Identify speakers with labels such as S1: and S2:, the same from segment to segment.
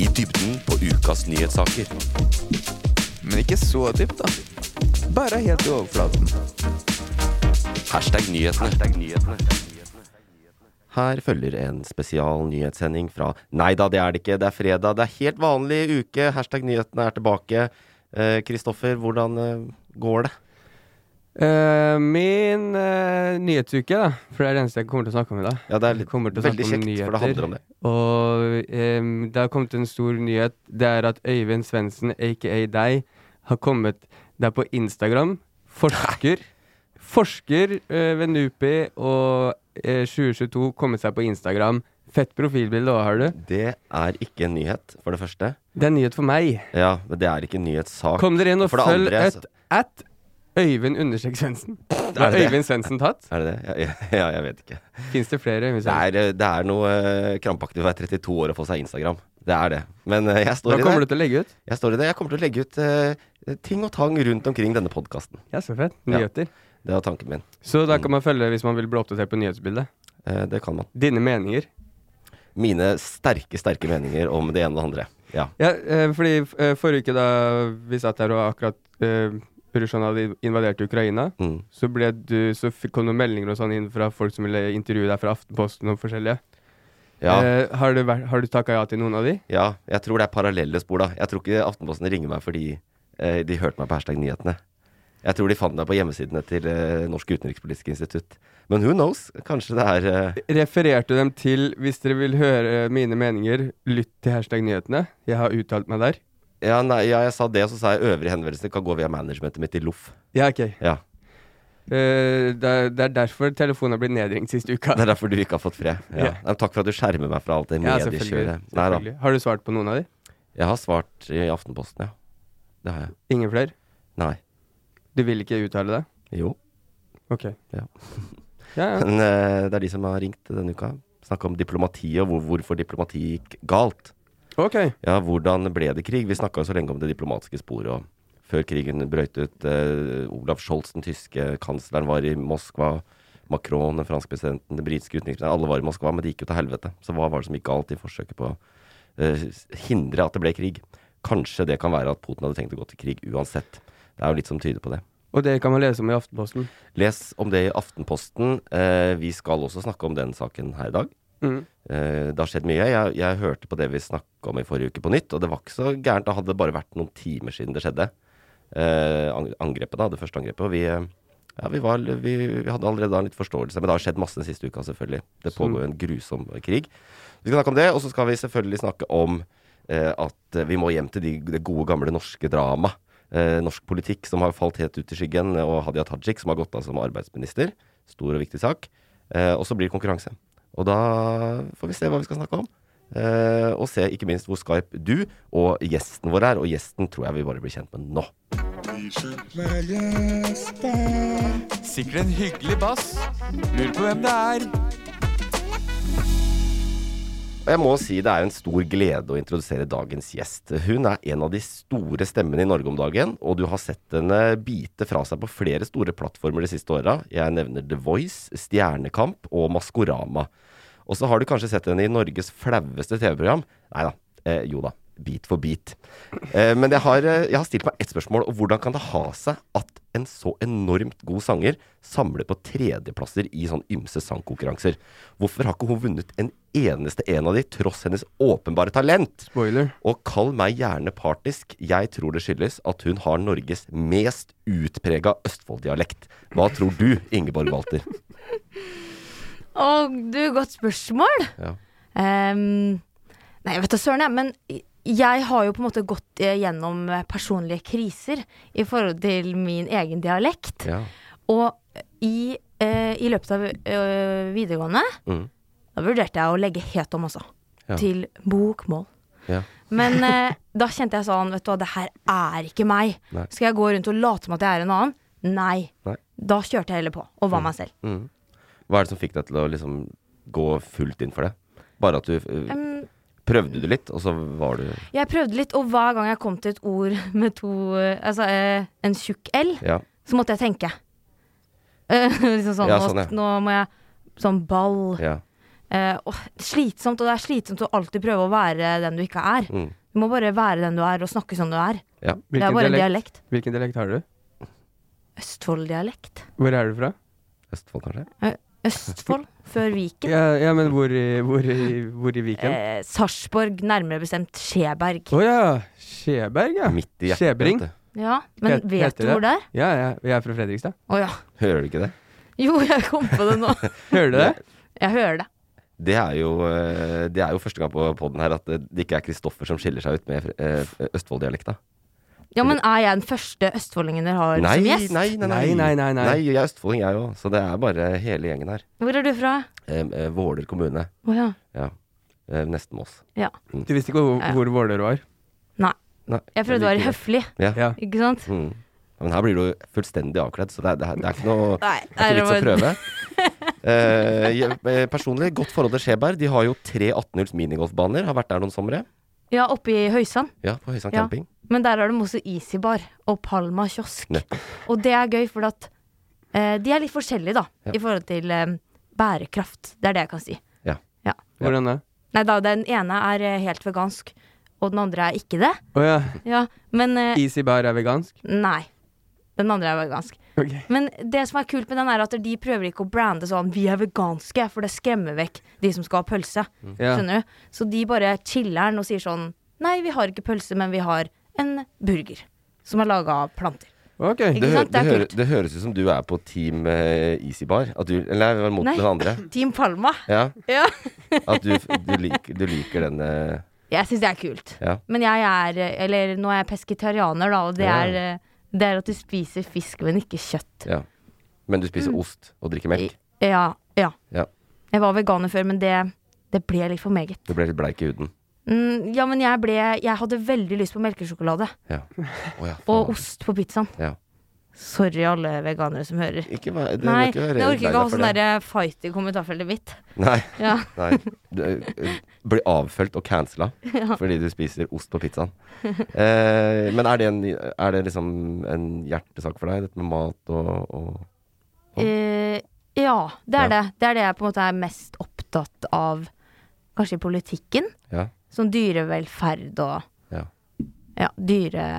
S1: I dybden på ukas nyhetssaker.
S2: Men ikke så dypt, da. Bare helt i overflaten.
S1: Hashtag nyhetene. Her følger en spesial nyhetssending fra Nei da, det er det ikke. Det er fredag. Det er helt vanlig uke. Hashtag nyhetene er tilbake. Eh, Kristoffer, hvordan eh, går det?
S3: Eh, min eh, nyhetsuke, da, for det er det eneste jeg kommer til å snakke om i dag.
S1: Ja, det er litt,
S3: Kommer til å
S1: veldig
S3: snakke om
S1: kjekt, for det
S3: nyheter.
S1: handler om det.
S3: Og em, det har kommet en stor nyhet. Det er at Øyvind Svendsen, aka deg, har kommet Det er på Instagram. Forsker. Forsker eh, ved NUPI og eh, 2022 kommet seg på Instagram. Fett profilbilde òg, har du.
S1: Det er ikke en nyhet, for det første.
S3: Det er en nyhet for meg.
S1: Ja, men det er ikke en nyhetssak.
S3: Kom dere inn og
S1: For det
S3: følg
S1: andre, altså.
S3: et at Øyvind understrek Svendsen. Er
S1: det det?
S3: Øyvind Svendsen tatt?
S1: Er det det? Ja, ja, ja, jeg vet ikke.
S3: Fins det flere Øyvind
S1: Det
S3: Svendsen?
S1: er, eh, det er noe eh, krampaktig å være 32 år og få seg Instagram. Det er det. Men eh, jeg står
S3: Hva
S1: i det.
S3: kommer du til å legge ut?
S1: Jeg står i det. Jeg kommer til å legge ut eh, ting og tang rundt omkring denne podkasten.
S3: Ja, så fett.
S1: Ja.
S3: Nyheter.
S1: Det var tanken min.
S3: Så da kan man følge hvis man vil bli oppdatert på nyhetsbildet.
S1: Eh, det kan man.
S3: Dine meninger.
S1: Mine sterke, sterke meninger om det ene og det andre. Ja.
S3: Ja, eh, fordi eh, forrige uke da vi satt her og akkurat eh, Russland hadde invadert Ukraina,
S1: Mm.
S3: så, ble du, så fikk, kom det meldinger og sånn inn fra folk som ville intervjue deg fra Aftenposten og forskjellige.
S1: Ja,
S3: Eh, har du, vært- har du takka ja til noen av de?
S1: ja. Jeg tror det er parallelle spor, da. Jeg tror ikke Aftenposten ringer meg fordi eh, de hørte meg på hashtag nyhetene. Jeg tror de fant meg på hjemmesidene til eh, Norsk utenrikspolitisk institutt. Men who knows? Kanskje det er eh,
S3: Refererte dem til 'Hvis dere vil høre mine meninger, lytt til hashtag nyhetene'. Jeg har uttalt meg der.
S1: ja, nei, ja, jeg sa det, og så sa jeg øvrige henvendelser kan gå via managementet mitt i Loff.
S3: Ja, ok.
S1: Ja.
S3: Eh, det, er, det er derfor telefonen har blitt nedringt siste uka.
S1: Det er derfor du ikke har fått fred. Ja.
S3: Ja.
S1: Nei, men Takk for at du skjermer meg fra alt det
S3: Ja,
S1: mediekjøret.
S3: selvfølgelig.
S1: Nei da.
S3: selvfølgelig. Har du svart på noen av de?
S1: Jeg har svart i Aftenposten, ja. Det har jeg.
S3: Ingen flere?
S1: Nei.
S3: Du vil ikke uttale deg?
S1: Jo.
S3: Ok.
S1: Ja.
S3: ja, ja.
S1: Men eh, det er de som har ringt denne uka. Snakka om diplomati og hvor, hvorfor diplomati gikk galt.
S3: Ok.
S1: Ja, hvordan ble det krig? Vi snakka jo så lenge om det diplomatiske sporet. Og før krigen brøyt ut, eh, Olav Scholz, den tyske kansleren, var i Moskva. Macron, den franske presidenten, den britiske utenriksministeren. Alle var i Moskva, men det gikk jo til helvete. Så hva var det som gikk galt i forsøket på å eh, hindre at det ble krig? Kanskje det kan være at Putin hadde tenkt å gå til krig uansett. Det er jo litt som tyder på det.
S3: Og det kan man lese om i Aftenposten.
S1: Les om det i Aftenposten. Eh, vi skal også snakke om den saken her i dag.
S3: Mm.
S1: Eh, det har skjedd mye. Jeg, jeg hørte på det vi snakka om i forrige uke på nytt, og det var ikke så gærent. Det hadde bare vært noen timer siden det skjedde. Eh, ang- angrepet da, det første angrepet. Og vi, eh, ja, vi, var, vi, vi hadde allerede da en litt forståelse, men det har skjedd masse den siste uka, selvfølgelig. Det pågår jo en grusom krig. Vi skal snakke om det, og så skal vi selvfølgelig snakke om eh, at eh, vi må hjem til de, det gode, gamle norske drama. Eh, norsk politikk som har falt helt ut i skyggen, og Hadia Tajik som har gått av som arbeidsminister. Stor og viktig sak. Eh, og så blir det konkurranse. Og da får vi se hva vi skal snakke om. Eh, og se ikke minst hvor skarp du og gjesten vår er. Og gjesten tror jeg vi bare blir kjent med nå.
S2: Sikkert en hyggelig bass. Lurer på hvem det er.
S1: Og jeg må si det er en stor glede å introdusere dagens gjest. Hun er en av de store stemmene i Norge om dagen, og du har sett henne bite fra seg på flere store plattformer de siste åra. Jeg nevner The Voice, Stjernekamp og Maskorama. Og så har du kanskje sett henne i Norges flaueste TV-program. Nei da. Eh, jo da. bit for bit. Eh, men jeg har, eh, jeg har stilt meg ett spørsmål, og hvordan kan det ha seg at en så enormt god sanger samler på tredjeplasser i sånn ymse sangkonkurranser? Hvorfor har ikke hun vunnet en eneste en av de, tross hennes åpenbare talent?
S3: Spoiler.
S1: Og kall meg gjerne partisk, jeg tror det skyldes at hun har Norges mest utprega Østfold-dialekt. Hva tror du, Ingeborg Walter?
S4: Å, du, godt spørsmål.
S1: Ja.
S4: Ehm, nei, jeg vet da søren, jeg. Men jeg har jo på en måte gått eh, gjennom eh, personlige kriser i forhold til min egen dialekt.
S1: Ja.
S4: Og i, eh, i løpet av eh, videregående
S1: Mm.
S4: da vurderte jeg å legge helt om også.
S1: Ja.
S4: Til bokmål.
S1: Ja.
S4: Men eh, da kjente jeg sånn, vet du hva, det her er ikke meg.
S1: Nei.
S4: Skal jeg gå rundt og late som at jeg er en annen? Nei.
S1: Nei. Mm.
S4: Da kjørte jeg heller på, og var meg selv.
S1: Hva er det som fikk deg til å liksom gå fullt inn for det? Bare at du eh,
S4: Em,
S1: prøvde du litt, og så var du
S4: jeg prøvde litt, og hver gang jeg kom til et ord med to eh, Altså eh, en tjukk L,
S1: Ja.
S4: så måtte jeg tenke. Eh, liksom sånn,
S1: Ja,
S4: nå-
S1: sånn, ja.
S4: nå må jeg Sånn ball.
S1: ja.
S4: Eh, åh, slitsomt, og det er slitsomt å alltid prøve å være den du ikke er.
S1: Mm.
S4: Du må bare være den du er, og snakke som du er.
S1: ja.
S4: det er
S3: Hvilken
S4: bare en
S3: dialekt,
S4: dialekt.
S3: hvilken dialekt har du?
S4: Østfold-dialekt.
S3: Hvor er du fra?
S1: Østfold, kanskje?
S4: Eh, Østfold før Viken.
S3: Ja, ja men hvor i, hvor i, hvor i Viken? Å
S4: Eh, Sarpsborg, nærmere bestemt Skjeberg.
S3: ja! Skjeberg, ja.
S1: Midt i hjertet.
S3: Skjebring.
S1: vet du.
S4: Ja, men
S3: Het-
S4: vet
S3: heter
S4: du hvor det er?
S3: Ja, ja. Jeg er fra Fredrikstad.
S4: Å ja.
S1: Hører du ikke det?
S4: Jo, jeg kom på det nå.
S3: Hører du det?
S4: Jeg hører det.
S1: Det er jo, eh, det er jo første gang på podden her at eh, det ikke er Kristoffer som skiller seg ut med eh, Østfold-dialekta.
S4: Ja, men er jeg den første østfoldingen dere har
S1: Nei,
S4: som
S1: nei,
S4: gjest?
S1: nei, nei.
S3: Nei, nei, nei, nei.
S1: jeg er østfolding, jeg òg, så det er bare hele gjengen her.
S4: Hvor er du fra?
S1: Eh, eh, Våler kommune.
S4: Å ja.
S1: Ja. Eh, nesten Moss.
S4: ja.
S3: Du visste ikke hvor,
S4: Ja.
S3: hvor Våler var?
S4: Nei.
S1: Nei,
S4: Jeg prøvde å være
S1: liker det.
S4: høflig,
S1: Ja.
S3: Ja.
S4: ikke sant?
S1: Mm. Ja, Men her blir du fullstendig avkledd, så det er, det er, det er ikke noe det
S4: Nei,
S1: er ikke vits å
S4: det var-
S1: prøve. Eh, jeg, eh, personlig, godt forhold til Skjeberg. De har jo tre 18-hulls minigolfbaner. Har vært der noen somre.
S4: Ja, oppe i Høysand.
S1: Ja, på Høysand
S4: Ja.
S1: camping.
S4: Men der har de også Easybar og Palma kiosk.
S1: Nettopp.
S4: Og det er gøy, for at eh, de er litt forskjellige, da,
S1: Ja.
S4: i forhold til eh, bærekraft. Det er det jeg kan si.
S1: Ja.
S4: Ja.
S3: Hvordan da?
S4: Nei da, den ene er eh, helt vegansk, og den andre er ikke det.
S3: Å ja.
S4: Ja, men eh,
S3: Easy Bar er vegansk?
S4: Nei. Den andre er vegansk.
S3: Ok.
S4: Men det som er kult med den, er at de prøver ikke å brande sånn 'vi er veganske', for det skremmer vekk de som skal ha pølse.
S3: Ja.
S4: Skjønner du? Så de bare chiller'n og sier sånn 'nei, vi har ikke pølse, men vi har en burger'. Som er laga av planter.
S3: Ok.
S4: Ikke
S1: Det, hø
S4: sant?
S1: det,
S4: Det er
S1: hører-
S4: kult.
S1: det høres ut som du er på Team eh, Easy Bar. At du, eller nei, mot
S4: Nei.
S1: den andre.
S4: Team Palma.
S1: Ja,
S4: Ja.
S1: at du, du, liker, du liker den eh,
S4: Jeg syns det er kult.
S1: Ja.
S4: Men jeg er eh, Eller nå er jeg pesketarianer, da, og det
S1: Ja.
S4: er eh, det er at du spiser fisk, men ikke kjøtt.
S1: Ja. Men du
S4: Mm.
S1: spiser ost og drikker melk.
S4: Ja. ja.
S1: Ja.
S4: Jeg var veganer før, men det, det ble litt for meget.
S1: Du ble litt bleik i huden.
S4: Mm, ja, men jeg ble Jeg hadde veldig lyst på melkesjokolade.
S1: Ja. Å ja, faen.
S4: Og ost på pizzaen.
S1: Ja.
S4: Sorry, alle veganere som hører.
S1: Ikke vær, du
S4: Nei,
S1: må ikke være
S4: jeg orker
S1: lei
S4: ikke å
S1: deg
S4: ha
S1: for
S4: sånn
S1: det.
S4: derre fight i kommentarfeltet mitt.
S1: Nei.
S4: Ja.
S1: nei. Du, eh, blir avfølt og cancela fordi du spiser ost på pizzaen. Eh, men er det, en, er det liksom en hjertesak for deg, dette med mat og, og
S4: Eh, ja,
S1: Ja.
S4: det er det. Det er det jeg på en måte er mest opptatt av, kanskje i politikken.
S1: Ja.
S4: Sånn dyrevelferd og
S1: Ja.
S4: ja, dyre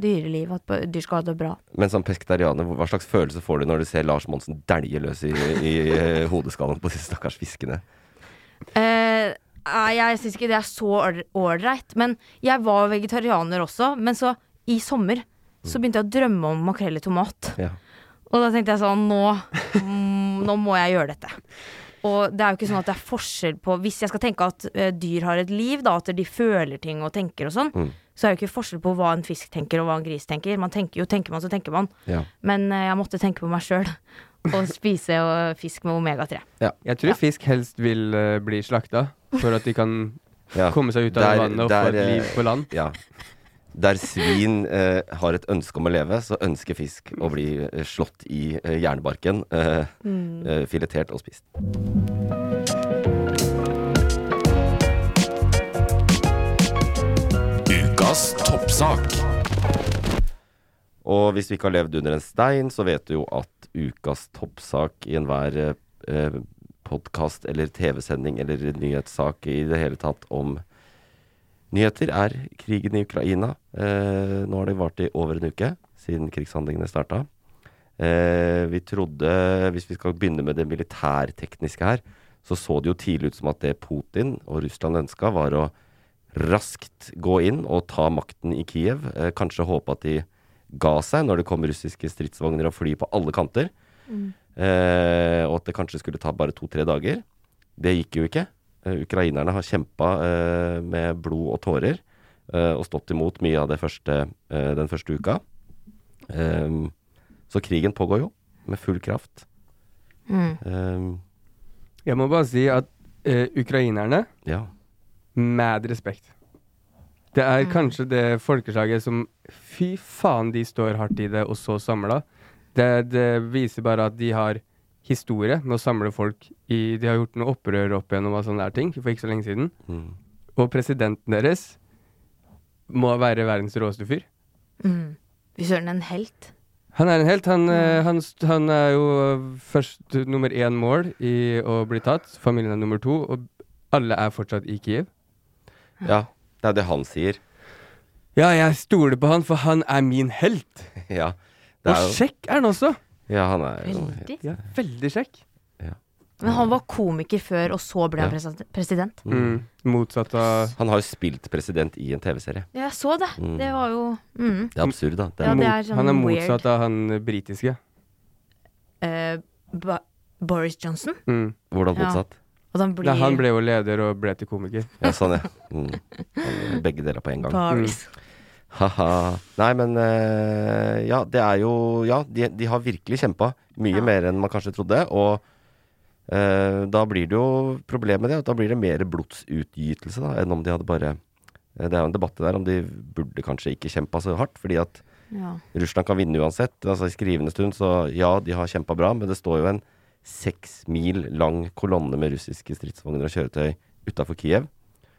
S4: dyreliv. At b- dyr skal ha det bra.
S1: Men som pesketarianer, hva slags følelse får du når du ser Lars Monsen dælje løs i, i eh, hodeskallen på disse stakkars fiskene?
S4: Eh, nei, jeg syns ikke det er så ål- ålreit. Men jeg var vegetarianer også. Men så, i sommer, så begynte jeg å drømme om makrell i tomat.
S1: Ja.
S4: Og da tenkte jeg sånn nå, mm, nå må jeg gjøre dette. Og det er jo ikke sånn at det er forskjell på Hvis jeg skal tenke at eh, dyr har et liv, da, at de føler ting og tenker og sånn,
S1: Mm.
S4: så er det jo ikke forskjell på hva en fisk tenker og hva en gris tenker. Man tenker jo, tenker man, så tenker man.
S1: Ja.
S4: Men eh, jeg måtte tenke på meg sjøl. Og spise eh, fisk med omega-3.
S3: Jeg tror fisk helst vil eh, bli slakta for at de kan
S1: Ja.
S3: komme seg ut av
S1: Der-
S3: vannet og
S1: der,
S3: få et liv
S1: eh,
S3: på land.
S1: Ja. Der svin eh, har et ønske om å leve, så ønsker fisk å bli eh, slått i eh, jernbarken. Eh, eh, filetert og spist.
S2: Ukas toppsak.
S1: Og hvis du ikke har levd under en stein, så vet du jo at ukas toppsak i enhver eh, eh, podkast eller TV-sending eller nyhetssak i det hele tatt om Nyheter er krigen i Ukraina. Eh, nå har det vart i over en uke siden krigshandlingene starta. Eh, vi trodde, hvis vi skal begynne med det militærtekniske her, så så det jo tidlig ut som at det Putin og Russland ønska, var å raskt gå inn og ta makten i Kiev. Eh, kanskje håpe at de ga seg når det kom russiske stridsvogner og fly på alle kanter. Eh, og at det kanskje skulle ta bare to-tre dager. Det gikk jo ikke. Eh, Ukrainerne har kjempa eh, med blod og tårer eh, og stått imot mye av det første, eh, den første uka. Ehm, så krigen pågår jo med full kraft. Ehm,
S3: Jeg må bare si at eh, ukrainerne
S1: ja.
S3: Mad respekt. Det er kanskje det folkeslaget som Fy faen, de står hardt i det, og så samla. Det, det viser bare at de har historie med å samle folk i De har gjort noe opprør opp gjennom og sånne der ting for ikke så lenge siden.
S1: Mm.
S3: Og presidenten deres må være verdens råeste fyr.
S4: Fy søren, en helt.
S3: Han er en helt. Han, eh, han, st- han er jo eh, først nummer én mål i å bli tatt. Familien er nummer to, og alle er fortsatt i Kiev.
S1: ja. Det er det han sier.
S3: Ja, jeg stoler på han, for han er min helt.
S1: Ja. Det
S3: Og
S1: er jo,
S3: kjekk er han også.
S1: ja, han er jo
S4: Veldig.
S3: Ja, veldig kjekk.
S4: Men han var komiker før, og så ble han
S1: Ja.
S4: presen- president.
S3: Mm. Motsatt av
S1: Han har jo spilt president i en TV-serie.
S4: Ja, jeg så det.
S1: Mm.
S4: Det var jo mm.
S1: Det er absurd, da. Det er,
S4: Ja, det
S3: mot-
S4: er sånn
S3: Han er
S4: weird.
S3: motsatt av han eh, britiske.
S4: eh, ba Boris Johnson.
S3: Mm.
S1: hvordan
S4: Ja.
S1: motsatt?
S4: At han blir
S3: Nei, han ble jo leder og ble til komiker.
S1: Ja, sånn, ja. Mm. Han- Begge deler på en gang.
S4: Boris.
S3: Mm.
S1: Haha. Nei, men eh, ja, det er jo Ja, de, de har virkelig kjempa. Mye mer enn man kanskje trodde. Og eh, da blir det jo Problemet med det er at da blir det mer blodsutgytelse da, enn om de hadde bare eh, Det er jo en debatt der om de burde kanskje ikke kjempa så hardt, fordi at
S4: Ja.
S1: Russland kan vinne uansett. Altså I skrivende stund, så ja, de har kjempa bra, men det står jo en seks mil lang kolonne med russiske stridsvogner og kjøretøy utafor Kiev,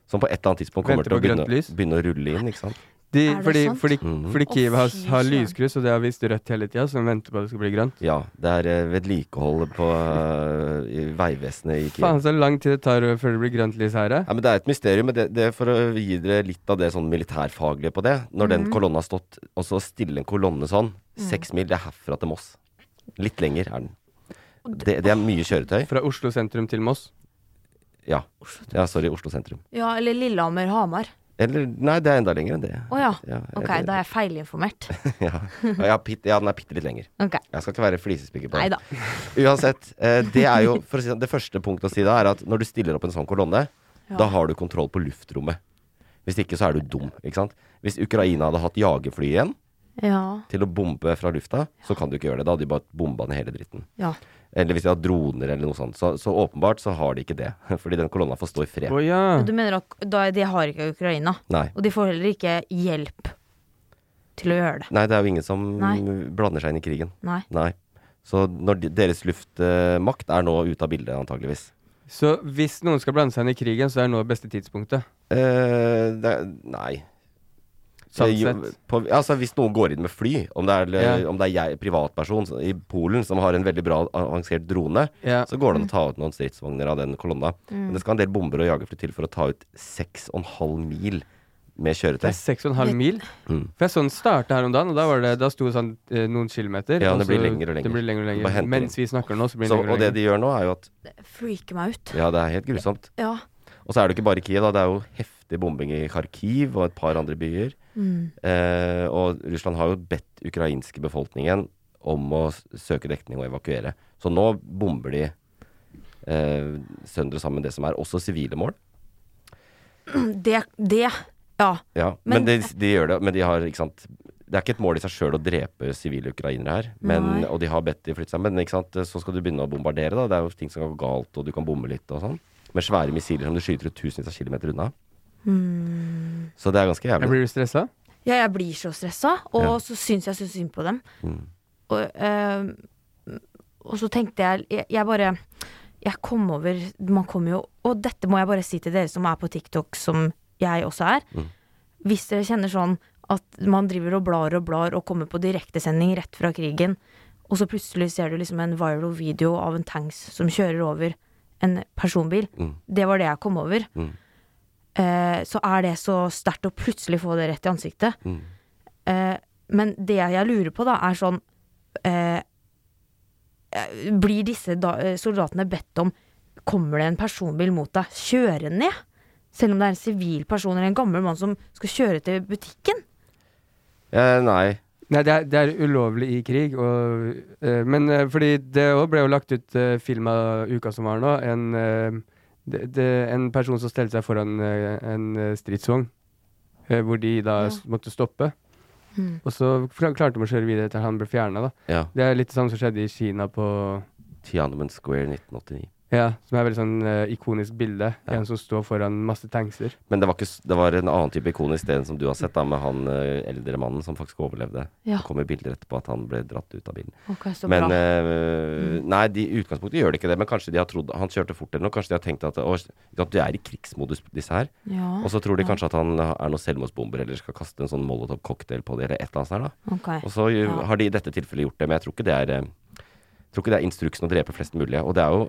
S1: som på et eller annet tidspunkt kommer
S3: Venter
S1: til å
S3: på grønt
S1: begynne,
S3: lys.
S1: begynne å rulle inn, ikke sant.
S3: De,
S4: Er det
S3: fordi,
S4: sant?
S3: fordi,
S1: Mhm.
S3: fordi
S4: Å,
S3: Kiev har,
S4: fy
S3: har
S4: søren.
S3: lyskryss, og det har visst rødt hele tida, så de venter på at det skal bli grønt.
S1: Ja, det er eh, vedlikehold på eh, i Vegvesenet i Kiev.
S3: Faen så lang tid det tar eh, før det blir grønt lys her, eh.
S1: Ja, men det er et mysterium, men det, det for å gi dere litt av det sånn militærfaglige på det. Når
S3: Mhm.
S1: den kolonna har stått, og så stille en kolonne sånn, seks mil, det er herfra til Moss. Litt lenger er den. Det, det er mye kjøretøy.
S3: Fra Oslo sentrum til Moss.
S1: Ja. ja, sorry, Oslo sentrum.
S4: ja, eller Lillehammer-Hamar.
S1: Eller, nei, det er enda lenger enn det.
S4: Å ja.
S1: Ja,
S4: Ok,
S1: eller-
S4: da er jeg feilinformert.
S1: ja. Ja, pitt, ja, den er bitte litt lenger.
S4: Ok,
S1: Jeg skal ikke være flisespikker på
S4: Nei
S1: det.
S4: da.
S1: Uansett, eh, det er jo for å si, det- Det første punktet å si da er at når du stiller opp en sånn kolonne, da har du kontroll på luftrommet. Hvis ikke så er du dum, ikke sant. Hvis Ukraina hadde hatt jagerfly igjen
S4: Ja.
S1: til å bombe fra lufta, så kan du ikke gjøre det. Da hadde de bare bomba ned hele dritten.
S4: ja.
S1: Eller hvis de hadde droner eller noe sånt. Så, så åpenbart så har de ikke det. Fordi den kolonna får stå i
S3: Å
S1: fred.
S3: ja.
S4: Du mener at da, de har ikke Ukraina?
S1: Nei.
S4: Og de får heller ikke hjelp til å gjøre det.
S1: Nei, det er jo ingen som
S4: Nei.
S1: blander seg inn i krigen.
S4: Nei.
S1: Nei. Så når de, deres luftmakt er nå ute av bildet, antageligvis.
S3: Så hvis noen skal blande seg inn i krigen, så er nå beste tidspunktet.
S1: Eh, det, er- nei.
S3: Sånn
S1: Det er jo-
S3: sett.
S1: På, altså hvis noen går inn med fly, om det er, eh,
S3: Ja.
S1: om det er jeg, privatperson så- i Polen som har en veldig bra avansert drone,
S3: Ja.
S1: så går det an å ta ut noen stridsvogner av den kolonna. Men det skal en del bomber og jagerfly til for å ta ut 6,5 mil med
S3: Det er
S1: kjøretøy.
S3: 6,5 mil.
S1: Mm.
S3: For jeg så den starte her om dagen, og da, var det, da sto det sånn eh, noen kilometer.
S1: Ja,
S3: og
S1: det blir
S3: så-
S1: lenger og lenger.
S3: Det blir lenger og
S1: Bare henter
S3: lenger.
S1: inn.
S3: Mens vi snakker nå, så blir det
S1: Så,
S3: lenger
S1: og
S3: og
S1: det
S3: lenger.
S1: de gjør nå, er jo at
S4: Freaker meg ut.
S1: Ja, det er helt grusomt.
S4: Ja.
S1: Og så er det ikke bare Kiev, da. Det er jo heftig bombing i Kharkiv og et par andre byer. Eh, og Russland har jo bedt ukrainske befolkningen om å s- søke dekning og evakuere. Så nå bomber de eh, sønder og sammen det som er også sivile mål.
S4: Det, det Ja.
S1: Ja, men,
S4: Men-
S1: de, de gjør det. Men de har, ikke sant Det er ikke et mål i seg sjøl å drepe sivile ukrainere her. Men,
S4: Nei.
S1: og de har bedt de flytte seg. Men ikke sant? så skal du begynne å bombardere, da. Det er jo ting som kan gå galt, og du kan bomme litt og sånn. Med svære missiler som du skyter ut tusenvis av kilometer unna. Så det er ganske
S3: Jeg
S1: jævlig.
S3: blir du stressa?
S4: ja jeg blir så stressa, og
S1: Ja.
S4: så syns jeg så synd på dem.
S1: Mm.
S4: Og, eh, og så tenkte jeg, jeg Jeg bare Jeg kom over Man kommer jo Og dette må jeg bare si til dere som er på TikTok, som jeg også er.
S1: Mm.
S4: Hvis dere kjenner sånn at man driver og blar og blar og kommer på direktesending rett fra krigen, og så plutselig ser du liksom en viral video av en tanks som kjører over en personbil.
S1: Mm.
S4: Det var det jeg kom over. eh, så er det så sterkt å plutselig få det rett i ansiktet.
S1: Mm.
S4: Eh, men det jeg lurer på, da, er sånn eh, eh, Blir disse da, eh, soldatene bedt om Kommer det en personbil mot deg? Kjøre ned? Selv om det er en sivil person eller en gammel mann som skal kjøre til butikken?
S1: Eh, nei.
S3: Nei, det er, det er ulovlig i krig. Og, eh, men eh, fordi det òg ble jo lagt ut eh, film av uka som var nå. En, eh, det, det, en person som stelte seg foran eh, en eh, stridsvogn, eh, hvor de da
S4: Ja.
S3: s- måtte stoppe. Og så kla- klarte de å kjøre videre til han ble fjerna.
S1: Ja.
S3: Det er litt det samme som skjedde i Kina på
S1: Tiananmen Square 1989.
S3: ja, Som er veldig sånn eh, ikonisk bilde.
S1: Ja.
S3: En som står foran masse tankser.
S1: Men det var, ikke, s- det var en annen type ikonisk sted som du har sett, da, med han eh, eldre mannen som faktisk overlevde.
S4: Ja.
S1: Det kommer bilder etterpå at han ble dratt ut av bilen.
S4: Ok, så
S1: Men
S4: bra. Mm.
S1: eh, Nei, de, i utgangspunktet gjør de ikke det. Men kanskje de har trodd han kjørte fort eller noe. Kanskje de har tenkt at, å, at de er i krigsmodus, disse her.
S4: Ja,
S1: Og så tror de kanskje at han er noen selvmordsbomber eller skal kaste en sånn molotov-cocktail på dem eller et eller annet sånt. her, da.
S4: ok.
S1: Og så eh, har de i dette tilfellet gjort det, men jeg tror ikke det er, eh, tror ikke det er instruksen å drepe flest mulig. Og det er jo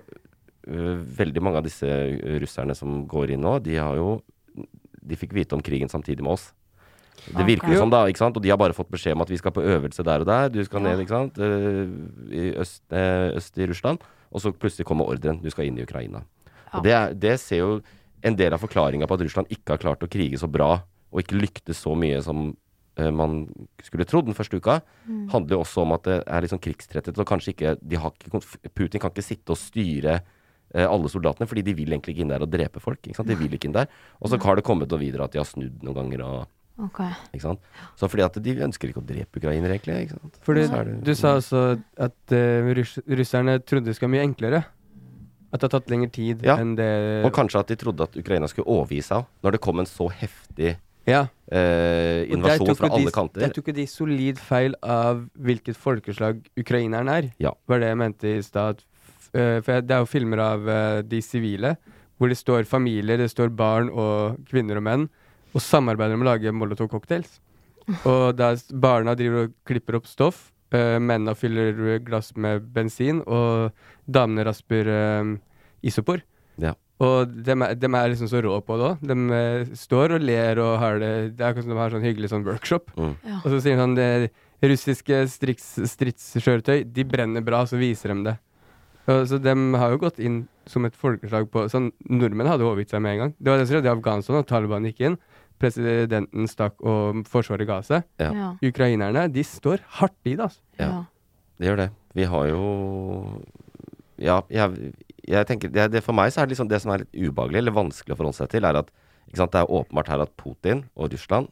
S1: eh, veldig mange av disse eh, russerne som går inn nå, de har jo De fikk vite om krigen samtidig med oss. Det virker jo
S3: Ok.
S1: sånn, da. ikke sant? Og de har bare fått beskjed om at vi skal på øvelse der og der. Du skal ned, ikke sant. eh, I øst, eh, øst i Russland. Og så plutselig kommer ordren. Du skal inn i Ukraina. Og det, er, det ser jo en del av forklaringa på at Russland ikke har klart å krige så bra, og ikke lyktes så mye som eh, man skulle trodd den første uka,
S3: Mm.
S1: handler jo også om at det er litt sånn krigstretthet. Og kanskje ikke, de har ikke konf- Putin kan ikke sitte og styre eh, alle soldatene, fordi de vil egentlig ikke inn der og drepe folk. Ikke sant? De vil ikke inn der. Og så har det kommet noe videre at de har snudd noen ganger. Og,
S4: ok.
S1: ikke sant? Så fordi at de ønsker ikke å drepe ukrainere, egentlig. Ikke sant?
S3: Fordi
S1: Så er det-
S3: du sa også at eh, russ russerne trodde det skal mye enklere. At det har tatt lengre tid
S1: Ja.
S3: enn det
S1: Og kanskje at de trodde at Ukraina skulle overgi seg òg, når det kom en så heftig
S3: ja.
S1: eh,
S3: Og der
S1: invasjon
S3: tok
S1: fra
S3: jo de-
S1: alle kanter.
S3: Der tok jo de solid feil av hvilket folkeslag ukraineren er,
S1: Ja.
S3: var det jeg mente i stad. F- eh, For jeg- det er jo filmer av eh, de sivile, hvor det står familier, det står barn og kvinner og menn, og samarbeider om å lage molotov-cocktails. Og da s- barna driver og klipper opp stoff, eh, mennene fyller eh, glass med bensin, og damene rasper eh, isopor.
S1: Ja.
S3: Og dem er, dem er liksom så rå på det òg. De eh, står og ler og har det Det er akkurat som de har sånn hyggelig sånn workshop.
S1: Mm.
S3: Og så sier de sånn det Russiske striks, stridskjøretøy, de brenner bra, så viser de det. Og, så dem har jo gått inn som et folkeslag på Sånn, Nordmenn hadde overgitt seg med en gang. Det var det som skjedde i Afghanistan, og Taliban gikk inn. Presidenten stakk, og forsvaret ga seg.
S1: Ja.
S4: Ja.
S3: Ukrainerne, de står hardt i det, altså.
S1: Ja. Det gjør det. Vi har jo Ja, jeg, jeg tenker det, det For meg så er det liksom det som er litt ubehagelig, eller vanskelig å forholde seg til, er at ikke sant, det er åpenbart her at Putin og Russland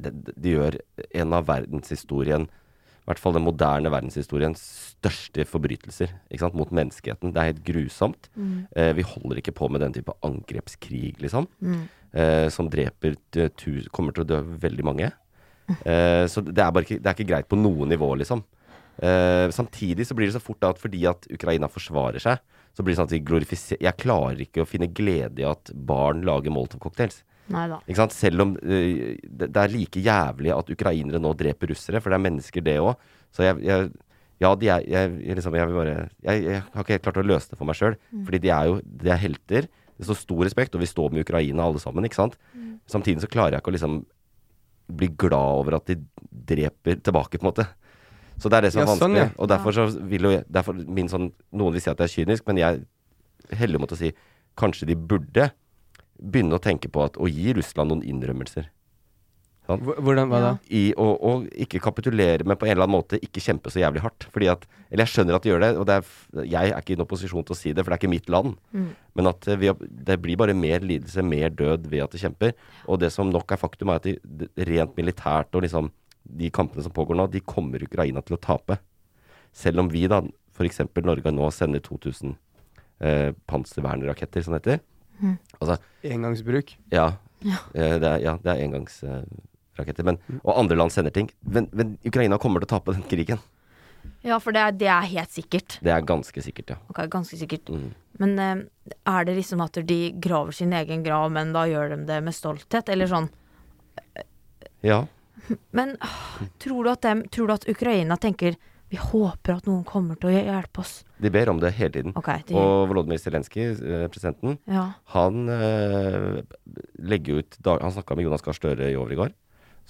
S1: de, de gjør en av verdenshistorien i hvert fall den moderne verdenshistoriens største forbrytelser ikke sant? mot menneskeheten. Det er helt grusomt. Eh, vi holder ikke på med den type angrepskrig, liksom. Eh, som dreper t- tu, Kommer til å dø veldig mange. Eh, så det er, bare ikke, det er ikke greit på noe nivå, liksom. Eh, samtidig så blir det så fort da at fordi at Ukraina forsvarer seg, så blir det sånn at de glorifiserer Jeg klarer ikke å finne glede i at barn lager Molotov-cocktails.
S4: Nei da.
S1: Ikke sant? Selv om eh, det, det er like jævlig at ukrainere nå dreper russere, for det er mennesker, det òg. Så jeg, jeg Ja, de er jeg, jeg, liksom, jeg vil bare jeg, jeg har ikke helt klart å løse det for meg sjøl. Fordi de er jo de er helter. Det står stor respekt, og vi står med Ukraina alle sammen, ikke sant. Samtidig så klarer jeg ikke å liksom bli glad over at de dreper tilbake, på en måte. Så det er det som er
S3: Ja, sånn,
S1: vanskelig.
S3: ja.
S1: Og derfor så vil jo jeg derfor min sånn, Noen vil si at jeg er kynisk, men jeg heller mot å si kanskje de burde begynne å tenke på at å gi Russland noen innrømmelser.
S3: Hvor- Hvordan, hva da?
S1: I å, å ikke kapitulere, men på en eller annen måte ikke kjempe så jævlig hardt. Fordi at, eller jeg skjønner at de gjør det, og det er, f- jeg er ikke i noen posisjon til å si det, for det er ikke mitt land. Men at eh, vi, har- det blir bare mer lidelse, mer død ved at de kjemper. Og det som nok er faktum, er at de, de- rent militært og liksom de kampene som pågår nå, de kommer Ukraina til å tape. Selv om vi da, f.eks. Norge nå sender 2000 eh, panservernraketter, som det heter. Altså,
S3: Engangsbruk.
S1: ja. Eh, Det er, ja, det er engangsraketter. Men, og andre land sender ting. Men, men Ukraina kommer til å tape den krigen.
S4: Ja, for det er, det er helt sikkert.
S1: Det er ganske sikkert, ja. Mm.
S4: Ok, ganske sikkert. Men eh, er det liksom at de graver sin egen grav, men da gjør de det med stolthet, eller sånn?
S1: Ja,
S4: Men ah, tror du at, dem, tror du at Ukraina tenker Vi håper at noen kommer til å hjelpe oss.
S1: De ber om det hele tiden.
S4: Ok, de-
S1: Og Volodymyr Zelenskyj, eh, presidenten,
S4: Ja.
S1: han eh, legger ut dag Han snakka med Jonas Gahr Støre i over i går.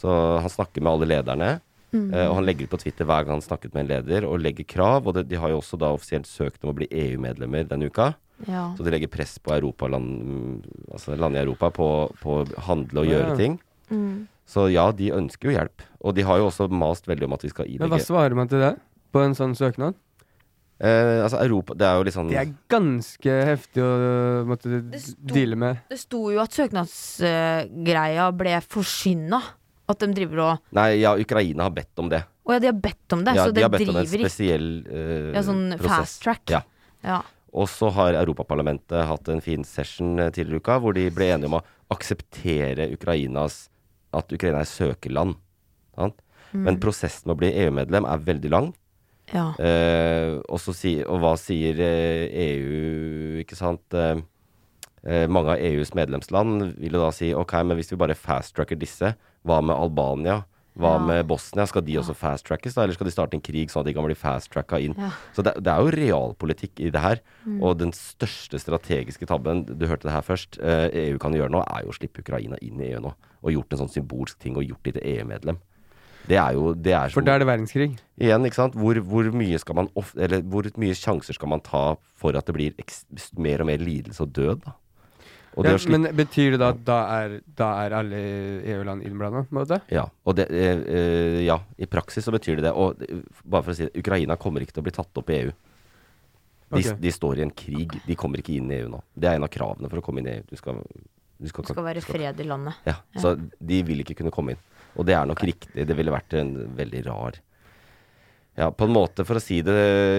S1: Så han snakker med alle lederne. eh, og han legger ut på Twitter hver gang han snakket med en leder, og legger krav. Og det, de har jo også da offisielt søkt om å bli EU-medlemmer denne uka.
S4: ja.
S1: Så de legger press på Europaland, mm, altså land i Europa på, på å handle og
S3: Ja.
S1: gjøre ting.
S4: Mm.
S1: Så ja, de ønsker jo hjelp. Og de har jo også mast veldig om at vi skal
S3: Men hva
S1: ilegge
S3: svarer man til det? På en sånn søknad?
S1: eh, Altså Europa Det er jo litt sånn
S3: Det er ganske heftig å øh, måtte
S4: sto-
S3: deale med.
S4: Det sto jo at søknadsgreia ble forskynda. At de driver og
S1: Nei, ja, Ukraina har bedt om det.
S4: Å ja, de har bedt om det,
S1: ja,
S4: så
S1: de
S4: det
S1: har bedt om en
S4: driver ikke.
S1: spesiell eh,
S4: Ja, sånn
S1: prosess.
S4: fast track.
S1: Ja.
S4: Ja.
S1: Og så har Europaparlamentet hatt en fin session eh, tidligere i uka, hvor de ble enige om å akseptere Ukrainas at Ukraina er søkerland. Sant?
S4: Mm.
S1: Men prosessen med å bli EU-medlem er veldig lang.
S4: ja.
S1: Eh, og, så si, og hva sier eh, EU, ikke sant? Eh, eh, mange av EUs medlemsland vil jo da si ok, men hvis vi bare fast-tracker disse, hva med Albania? Hva
S4: Ja.
S1: med Bosnia? Skal de også fast-trackes, da? Eller skal de starte en krig sånn at de kan bli fast-tracka inn? Så det, det er jo realpolitikk i det her.
S4: Mm.
S1: Og den største strategiske tabben, du hørte det her først, eh, EU kan gjøre nå, er jo å slippe Ukraina inn i EU nå. Og gjort en sånn symbolsk ting, og gjort de til EU-medlem. Det er jo det er
S3: For
S1: som-
S3: da er det verdenskrig.
S1: Igjen, ikke sant? Hvor, hvor, mye skal man of, eller, hvor mye sjanser skal man ta for at det blir eks, mer og mer lidelse og død? Da? Og det
S3: Ja,
S1: å slippe-
S3: men betyr det da at da er, da er alle EU-land innblanda? på en måte?
S1: ja, og det, eh, eh, ja, i praksis så betyr det det. Og eh, bare for å si det, Ukraina kommer ikke til å bli tatt opp i EU. De,
S3: Ok.
S1: de står i en krig. De kommer ikke inn i EU nå. Det er en av kravene for å komme inn i EU. Du skal, du skal,
S4: Det skal være fred i landet.
S1: Ja, Så de vil ikke kunne komme inn. Og det er nok riktig. Det ville vært en veldig rar Ja, på en måte, for å si det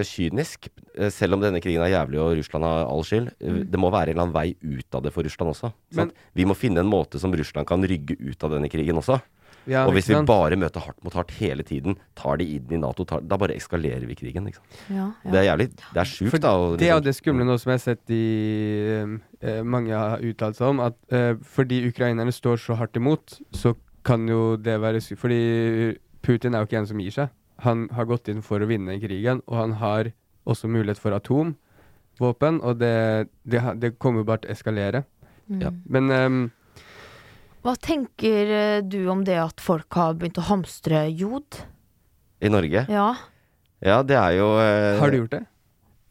S1: kynisk, eh, selv om denne krigen er jævlig og Russland har all skyld, eh, det må være en eller annen vei ut av det for Russland også.
S3: Mm. Men-
S1: sant? vi må finne en måte som Russland kan rygge ut av denne krigen også.
S3: Ja,
S1: og hvis vi
S3: ikke sant?
S1: bare møter hardt mot hardt hele tiden, tar de inn i Nato, tar, da bare eskalerer vi krigen. Ikke sant?
S4: Ja,
S1: Det
S4: ja.
S1: er jævlig Det er sjukt,
S3: For
S1: da. å
S3: det er jo
S1: liksom-
S3: det skumle nå som jeg har sett i um, eh, mange har uttalt seg om, at eh, fordi ukrainerne står så hardt imot, så kan jo det være sku- Fordi Putin er jo ikke en som gir seg. Han har gått inn for å vinne krigen, og han har også mulighet for atomvåpen, og det, det, ha- det kommer jo bare til å eskalere.
S4: Mm.
S1: Ja.
S3: Men ehm,
S4: Hva tenker eh, du om det at folk har begynt å hamstre jod?
S1: I Norge?
S4: Ja.
S1: Ja, det er jo eh,
S3: har du gjort det?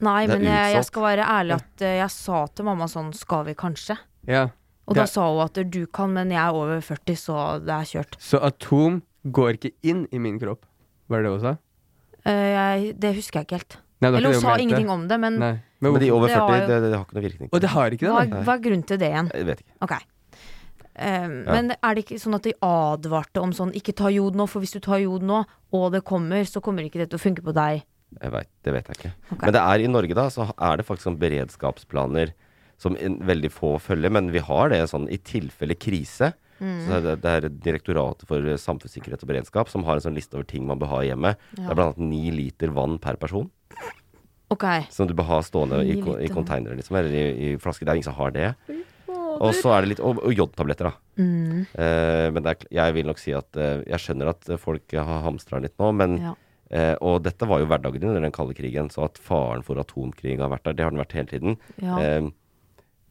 S4: Nei,
S1: Det er
S4: men jeg, jeg
S1: utsolgt.
S4: skal være ærlig at eh, jeg sa til mamma sånn Skal vi kanskje?
S3: Ja.
S4: Og
S3: Det
S4: da
S3: er-
S4: sa hun at du kan, men jeg er over 40, så det er kjørt.
S3: Så atom går ikke inn i min kropp, var det det hun sa?
S4: Eh, jeg, det husker jeg ikke helt.
S3: Nei, det var ikke
S4: Eller
S3: det
S4: hun sa
S3: mente.
S4: ingenting om det, men
S3: Nei. Men
S1: Men de over
S4: Det har
S1: 40, det,
S4: jo-
S1: det har ikke noe virkning.
S3: Og det har ikke det,
S4: hva,
S3: nei.
S4: hva er grunnen til det igjen?
S1: Jeg vet ikke.
S4: Ok. Ehm, Men er det ikke sånn at de advarte om sånn ikke ta jod nå, for hvis du tar jod nå, og det kommer, så kommer ikke det til å funke på deg.
S1: Jeg vet, det vet jeg ikke. Men det er i Norge, da, så er det faktisk sånn beredskapsplaner som en, veldig få følger. Men vi har det sånn i tilfelle krise.
S4: Mm.
S1: Så er det, det er Direktoratet for samfunnssikkerhet og beredskap som har en sånn liste over ting man bør ha i hjemmet. Det er blant annet ni liter vann per person
S4: Ok.
S1: som du bør ha stående i,
S4: Ni
S1: ko- i
S4: liter vann.
S1: containere, liksom, eller i, i flasker. Det er ingen som har det. Og så er det litt Og, og jodtabletter, da.
S4: Mm.
S1: Eh, men det er, kl- jeg vil nok si at eh, jeg skjønner at folk har hamstra litt nå, men
S4: Ja.
S1: Eh, og dette var jo hverdagen din under den kalde krigen, så at faren for atomkrig har vært der, det har den vært hele tiden.
S4: Ja.
S1: Eh,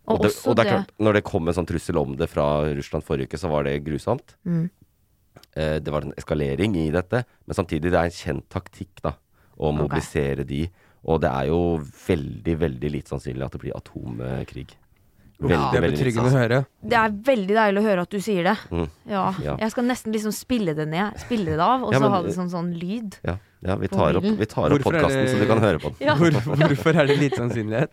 S1: og,
S4: Og
S1: det,
S4: også
S1: og det er
S4: det-
S1: klart, når det kom en sånn trussel om det fra Russland forrige uke, så var det grusomt. Eh, det var en eskalering i dette, men samtidig det er en kjent taktikk da, å mobilisere de. Og det er jo veldig, veldig lite sannsynlig at det blir atomkrig. Veldig,
S3: Det er
S1: veldig Mm, lite
S3: betryggende å høre.
S4: Det er veldig deilig å høre at du sier det. Ja.
S1: Ja.
S4: Jeg skal nesten liksom spille det ned. Spille det av, og
S1: Ja,
S4: så
S1: men-
S4: ha det som sånn lyd.
S1: Ja, ja, vi tar opp, vi tar opp
S3: Hvorfor er
S1: podkasten,
S3: det-
S1: så du kan høre på den.
S3: Hvor, hvorfor er det lite sannsynlighet?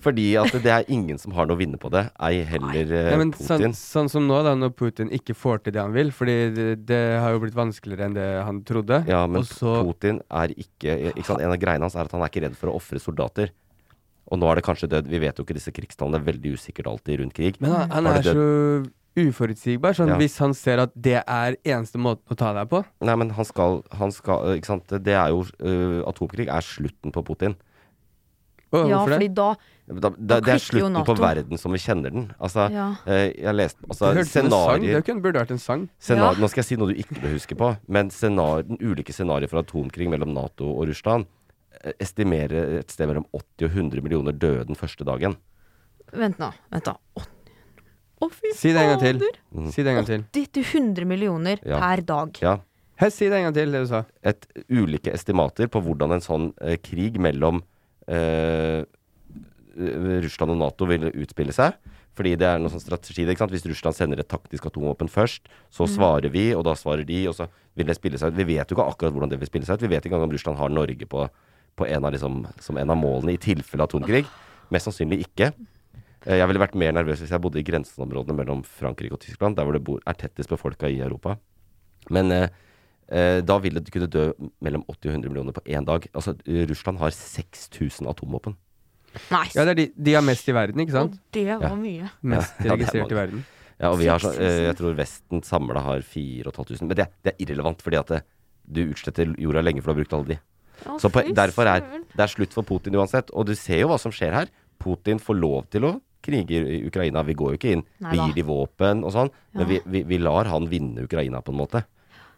S1: Fordi at det er ingen som har noe å vinne på det, ei heller eh,
S3: Nei, men sånn,
S1: Putin.
S3: sånn som nå, da, når Putin ikke får til det han vil, fordi det, det har jo blitt vanskeligere enn det han trodde.
S1: Ja, men
S3: og så,
S1: Putin er ikke, ikke sant? En av greiene hans er at han er ikke redd for å ofre soldater. Og nå er det kanskje død. Vi vet jo ikke disse krigstallene. Det er veldig usikkert alltid rundt krig.
S3: men han, han
S1: Var
S3: er
S1: det død?
S3: så uforutsigbar. Sånn,
S1: Ja.
S3: Hvis han ser at det er eneste måten å ta deg på
S1: Nei, men han eh, skal, han skal Ikke sant. Det er jo øh, Atomkrig er slutten på Putin.
S3: Å,
S4: Ja,
S3: hvorfor
S4: fordi
S3: det?
S4: da
S1: Da, da,
S4: Da
S1: det er
S4: klikker jo
S1: slutten på
S4: NATO.
S1: verden som vi kjenner den. Altså,
S4: Ja.
S1: eh, jeg leste altså,
S3: Det hørtes ut som en sang.
S1: scenarier
S3: Det kunne, burde vært en sang.
S1: Scenar-
S4: Ja.
S1: Nå skal jeg si noe du ikke bør huske på, men scenar- den ulike scenarioer for atomkrig mellom Nato og Russland eh, estimerer et sted mellom 80 og 100 millioner døde den første dagen.
S4: Vent nå. Vent da. Å, å, fy
S3: Si det en gang til.
S4: fader.
S1: Mm.
S3: Si det en gang til.
S4: 80-100 millioner
S1: Ja.
S4: per dag.
S1: Ja.
S3: Hei, si det en gang til, det du sa.
S1: Et ulike estimater på hvordan en sånn eh, krig mellom eh, Russland og Nato vil utspille seg. Fordi det er noen sånn strategi det, ikke sant? Hvis Russland sender et taktisk atomvåpen først, så svarer vi, og da svarer de, og så vil det spille seg ut. Vi vet jo ikke akkurat hvordan det vil spille seg ut. Vi vet ikke engang om Russland har Norge på, på en av, liksom, som en av målene i tilfelle atomkrig. Mest sannsynlig ikke. Eh, Jeg ville vært mer nervøs hvis jeg bodde i grenseområdene mellom Frankrike og Tyskland, der hvor det bor, er tettest befolka i Europa. Men eh, eh, da vil det kunne dø mellom 80 og 100 millioner på én dag. Altså, Russland har 6000 atomvåpen.
S4: Nei,
S3: Ja, det er de, de er mest i verden, ikke
S4: og
S3: sant?
S4: det var mye.
S3: Mest
S1: Ja, det er
S3: registrert
S1: mange.
S3: i verden.
S1: Ja, og vi har så,
S4: 6000.
S1: eh, jeg tror Vesten samla har 4500. Men det, det er irrelevant, fordi at det, du utsletter jorda lenge for du har brukt alle de.
S4: Å,
S1: Så på,
S4: fy
S1: derfor er
S4: søren.
S1: det er slutt for Putin uansett. Og du ser jo hva som skjer her. Putin får lov til å krige i i Ukraina. Vi går jo ikke inn.
S4: Nei
S1: Vi
S4: da.
S1: gir de våpen og sånn. Men vi,
S4: Ja.
S1: vi, vi lar han vinne Ukraina på en måte.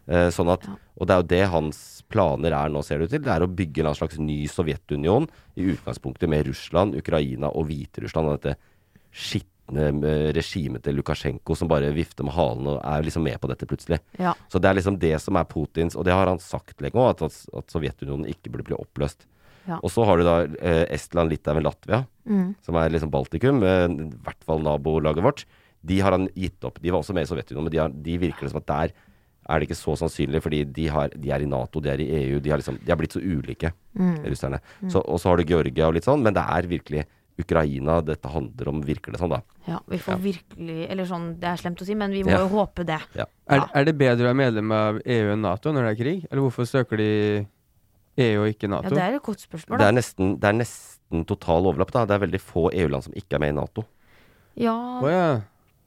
S1: Eh, sånn at,
S4: Ja.
S1: Og det er jo det hans planer er nå, ser det ut til. Det er å bygge en eller annen slags ny Sovjetunion i utgangspunktet med Russland, Ukraina og Hviterussland. Og dette skitne eh, regimet til Lukasjenko som bare vifter med halen og er liksom med på dette plutselig.
S4: Ja.
S1: Så det er liksom det som er Putins Og det har han sagt lenge òg, at, at Sovjetunionen ikke burde bli oppløst.
S4: Ja.
S1: Og så har du da eh, Estland, Litauen, Latvia, som er liksom Baltikum, eh, i hvert fall nabolaget vårt. De har han gitt opp. De var også med i Sovjetunionen, men de, har, de virker det som at der er det ikke så sannsynlig, fordi de, har, de er i Nato, de er i EU, de har liksom De har blitt så ulike, russerne. Så, og så har du Georgia og litt sånn, men det er virkelig Ukraina dette handler om, virker det sånn, da.
S4: Ja, vi får virkelig Eller sånn, det er slemt å si, men vi må
S1: Ja.
S4: jo håpe det.
S1: Ja.
S3: Er, er det bedre å være medlem av EU enn Nato når det er krig? Eller hvorfor søker de EU og ikke
S4: Ja,
S3: Nato?
S4: det er et godt spørsmål,
S1: Det
S4: da.
S1: er nesten, det er nesten total overlapp, da. Det er veldig få EU-land som ikke er med i Nato.
S4: Ja,
S3: Å ja.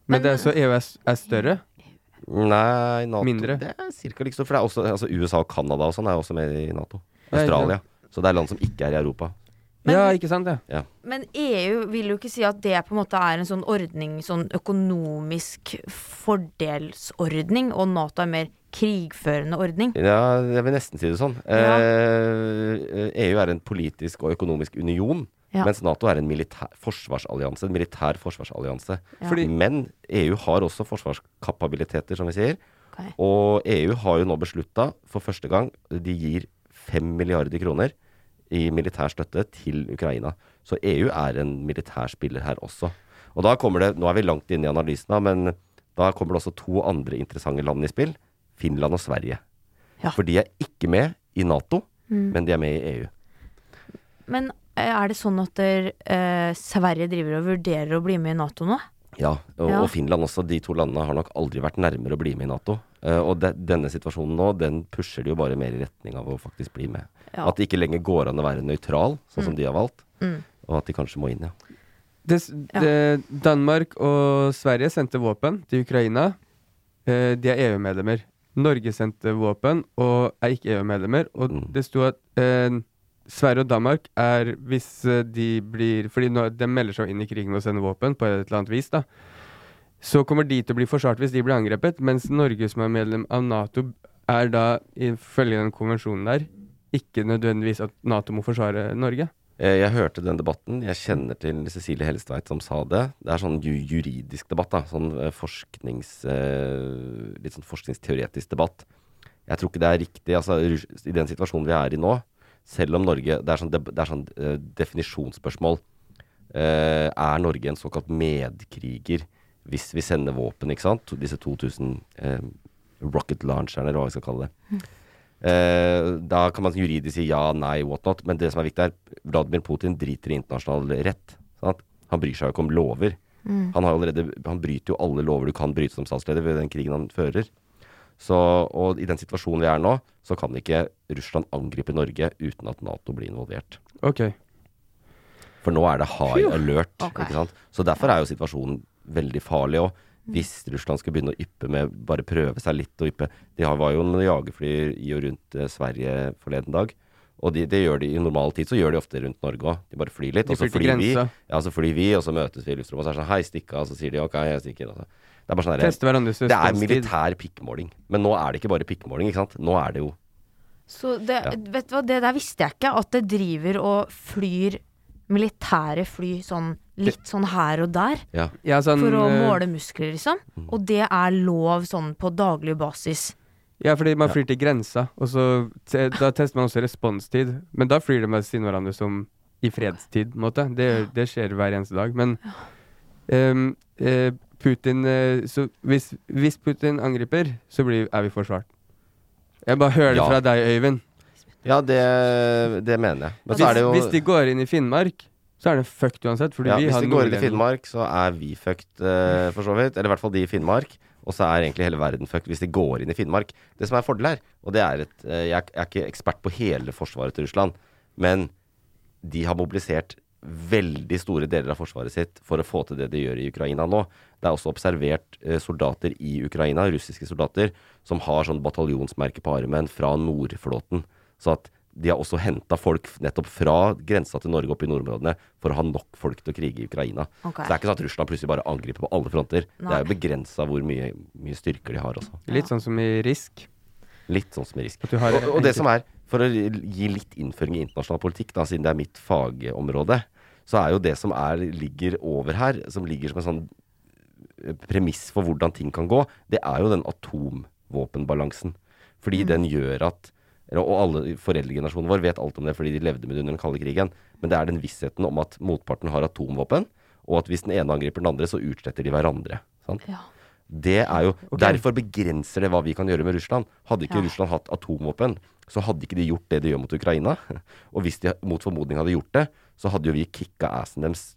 S3: Men det er så EØS er større?
S1: Nei, Nato
S3: Mindre.
S1: Det er cirka like stort. For det er også, altså USA og Canada og sånn er også med i Nato.
S3: Ja, ikke
S1: Australia. Så det er land som ikke er i Europa.
S3: ja, ikke sant? Ja.
S4: Men EU vil jo ikke si at det på en måte er en sånn ordning, sånn økonomisk fordelsordning, og Nato er mer krigførende ordning.
S1: Ja, jeg vil nesten si det sånn.
S4: Ja.
S1: Eh, EU er en politisk og økonomisk union.
S4: Ja.
S1: Mens Nato er en militær forsvarsallianse. En militær forsvarsallianse.
S4: Ja.
S3: Fordi-
S1: Men EU har også forsvarskapabiliteter, som vi sier.
S4: Ok.
S1: Og EU har jo nå beslutta, for første gang, de gir 5 milliarder kroner i militær støtte til Ukraina. Så EU er en militær spiller her også. Og da kommer det, nå er vi langt inne i analysen, da, men da kommer det også to andre interessante land i spill. Finland og Sverige.
S4: Ja. Mm.
S1: For de er ikke med i Nato, men de er med i E EU.
S4: Men eh, er det sånn at der, eh, Sverige driver og vurderer å bli med i Nato nå?
S1: Ja, og,
S4: Ja.
S1: og Finland også. De to landene har nok aldri vært nærmere å bli med i Nato. Eh, og de, denne situasjonen nå, den pusher de jo bare mer i retning av å faktisk bli med.
S4: Ja.
S1: At det ikke lenger går an å være nøytral, sånn som de har valgt.
S4: Mm.
S1: Og at de kanskje må inn, ja.
S3: Det, s- det, Danmark og Sverige sendte våpen til Ukraina. Eh, de er EU-medlemmer. Norge sendte våpen og er ikke EU-medlemmer. Og
S1: Mm.
S3: det sto at eh, Sverige og Danmark er hvis eh, de blir Fordi nå, de melder seg inn i krigen med å sende våpen på et eller annet vis, da. Så kommer de til å bli forsvart hvis de blir angrepet, mens Norge som er medlem av Nato, er da ifølge den konvensjonen der ikke nødvendigvis at Nato må forsvare Norge.
S1: Eh, Jeg hørte den debatten. Jeg kjenner til Cecilie Hellestveit som sa det. Det er sånn ju juridisk debatt, da. Sånn eh, forsknings... eh, Litt sånn forskningsteoretisk debatt. Jeg tror ikke det er riktig. Altså, Rus- I den situasjonen vi er i nå, selv om Norge Det er sånn, deb- det er sånn eh, definisjonsspørsmål. Eh, er Norge en såkalt medkriger hvis vi sender våpen, ikke sant? To- Disse 2000 eh, rocket launcherne, eller hva vi skal kalle det. Eh, da kan man juridisk si ja, nei, whatnot, men det som er viktig er Vladimir Putin driter i internasjonal rett. Sant? Han bryr seg jo ikke om lover. Han, har allerede, han bryter jo alle lover du kan bryte som statsleder ved den krigen han fører. Så, og i den situasjonen vi er nå, så kan ikke Russland angripe Norge uten at Nato blir involvert.
S3: Ok.
S1: For nå er det high alert.
S4: Ok.
S1: Ikke sant? Så derfor er jo situasjonen veldig farlig. Og hvis Russland skulle begynne å yppe med bare prøve seg litt og yppe De har- var jo noen jagerfly i og rundt eh, Sverige forleden dag.
S5: Og de, det gjør de i normal tid, så gjør de ofte rundt Norge òg. De bare flyr litt,
S3: De
S5: og så
S3: flyr til
S5: flyr Altså vi.
S3: grensa.
S5: Ja, så flyr vi, og så møtes vi i luftrommet, og så er det sånn Hei, stikk av. Så sier de OK, jeg stikker. Og så. Det er bare sånn
S3: Teste
S5: der-
S3: hverandres
S5: Det er
S3: responstid.
S5: militær pikkmåling. Men nå er det ikke bare pikkmåling, ikke sant. Nå er det jo
S4: Så det, vet du hva, det der visste jeg ikke, at det driver og flyr militære fly sånn litt sånn her og der.
S5: Ja.
S3: Ja, sånn,
S4: For å
S3: eh,
S4: måle muskler, liksom. Og det er lov sånn på daglig basis.
S3: Ja, fordi man flyr til grensa, og så te, da tester man også responstid. Men da flyr de med siden hverandre som i fredstid, på en måte. Det, gjør- det skjer hver eneste dag. Men ehm, eh, Putin eh, Så hvis, hvis Putin angriper, så blir, er vi forsvart. Jeg bare hører det
S5: Ja.
S3: fra deg, Øyvind.
S5: Ja, det, det mener jeg. Men
S3: Hvis,
S5: så er det jo
S3: hvis de går inn i Finnmark, så er det fucked uansett. Fordi
S5: ja,
S3: vi
S5: Hvis
S3: har
S5: de går inn i
S3: nordlending.
S5: Finnmark, så er vi fucked, eh, for så vidt. Eller i hvert fall de i Finnmark. Og så er egentlig hele verden fucked hvis de går inn i Finnmark. Det som er fordel her, og det er et eh, jeg, er- jeg er ikke ekspert på hele forsvaret til Russland, men de har mobilisert veldig store deler av forsvaret sitt for å få til det de gjør i Ukraina nå. Det er også observert eh, soldater i Ukraina, russiske soldater, som har sånn bataljonsmerke på armen fra Nordflåten. Så at de har også henta folk nettopp fra grensa til Norge opp i nordområdene for å ha nok folk til å krige i Ukraina.
S4: Ok.
S5: Så det er ikke sånn at Russland plutselig bare angriper på alle fronter. Det
S4: Nei.
S5: er jo begrensa hvor mye, mye styrker de har også.
S3: Litt sånn som i Risk.
S5: Litt sånn som i risk.
S3: At du har
S5: og, og det
S3: enkelt-
S5: som er, for å gi litt innføring i internasjonal politikk, da, siden det er mitt fagområde, så er jo det som er, ligger over her, som ligger som en sånn eh, premiss for hvordan ting kan gå, det er jo den atomvåpenbalansen. Fordi den gjør at eller- og alle foreldregenerasjonen vår vet alt om det fordi de levde med det under den kalde krigen. Men det er den vissheten om at motparten har atomvåpen, og at hvis den ene angriper den andre, så utsletter de hverandre. Sant? Det er jo, Derfor begrenser det hva vi kan gjøre med Russland. Hadde ikke Russland hatt atomvåpen, så hadde ikke de gjort det de gjør mot Ukraina. Og hvis de mot formodning hadde gjort det, så hadde jo vi kicka assen deres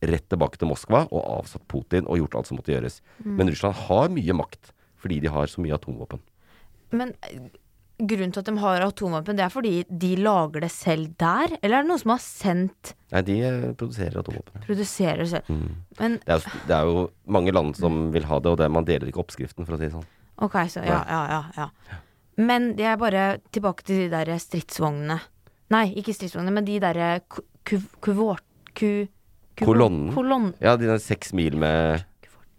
S5: rett tilbake til Moskva og avsatt Putin og gjort alt som måtte gjøres.
S3: Mm.
S5: Men Russland har mye makt fordi de har så mye atomvåpen.
S4: Men eh, grunnen til at de har atomvåpen, det er fordi de lager det selv der? Eller er det noen som har sendt,
S5: Nei, de eh, produserer atomvåpen. Mm.
S4: produserer det selv? Men
S5: Det er, jo, det er jo mange land som
S3: Mm.
S5: vil ha det, og det, man deler ikke oppskriften, for å si det sånn.
S4: Ok, så ja, ja, ja, ja. Men det er bare tilbake til de der stridsvognene. Nei, ikke stridsvognene, men de derre kuvort... Ku, ku,
S5: Kolonnen.
S4: kolonn-
S5: Ja, de der seks mil med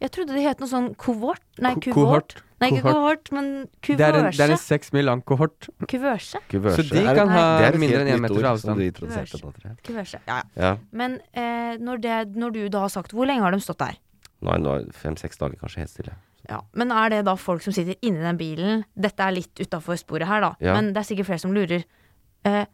S4: Jeg trodde det het noe sånn kovort. Nei,
S3: Ko-
S4: kuvort.
S3: kohort.
S4: Nei, ikke
S3: Kohort.
S4: kohort, men
S3: Det er en, det er
S4: kuvørse.
S3: en seks mil lang kohort.
S4: Kuvørse.
S5: kuvørse.
S3: Så
S5: Er
S3: de
S5: det-
S3: kan ha
S5: det er et
S3: mindre
S5: helt
S3: enn
S5: nytt
S3: én meters
S5: ord som
S3: avstand.
S5: de introduserte nå, tror jeg.
S4: Kuvørse. Ja, ja.
S5: Ja.
S4: Men eh, når, det, når du da har sagt Hvor lenge har de stått der?
S5: Nå er det fem-seks dager kanskje helt stille.
S4: Ja. Men er det da folk som sitter inni den bilen Dette er litt utafor sporet her, da,
S5: Ja.
S4: men det er sikkert flere som lurer. Eh,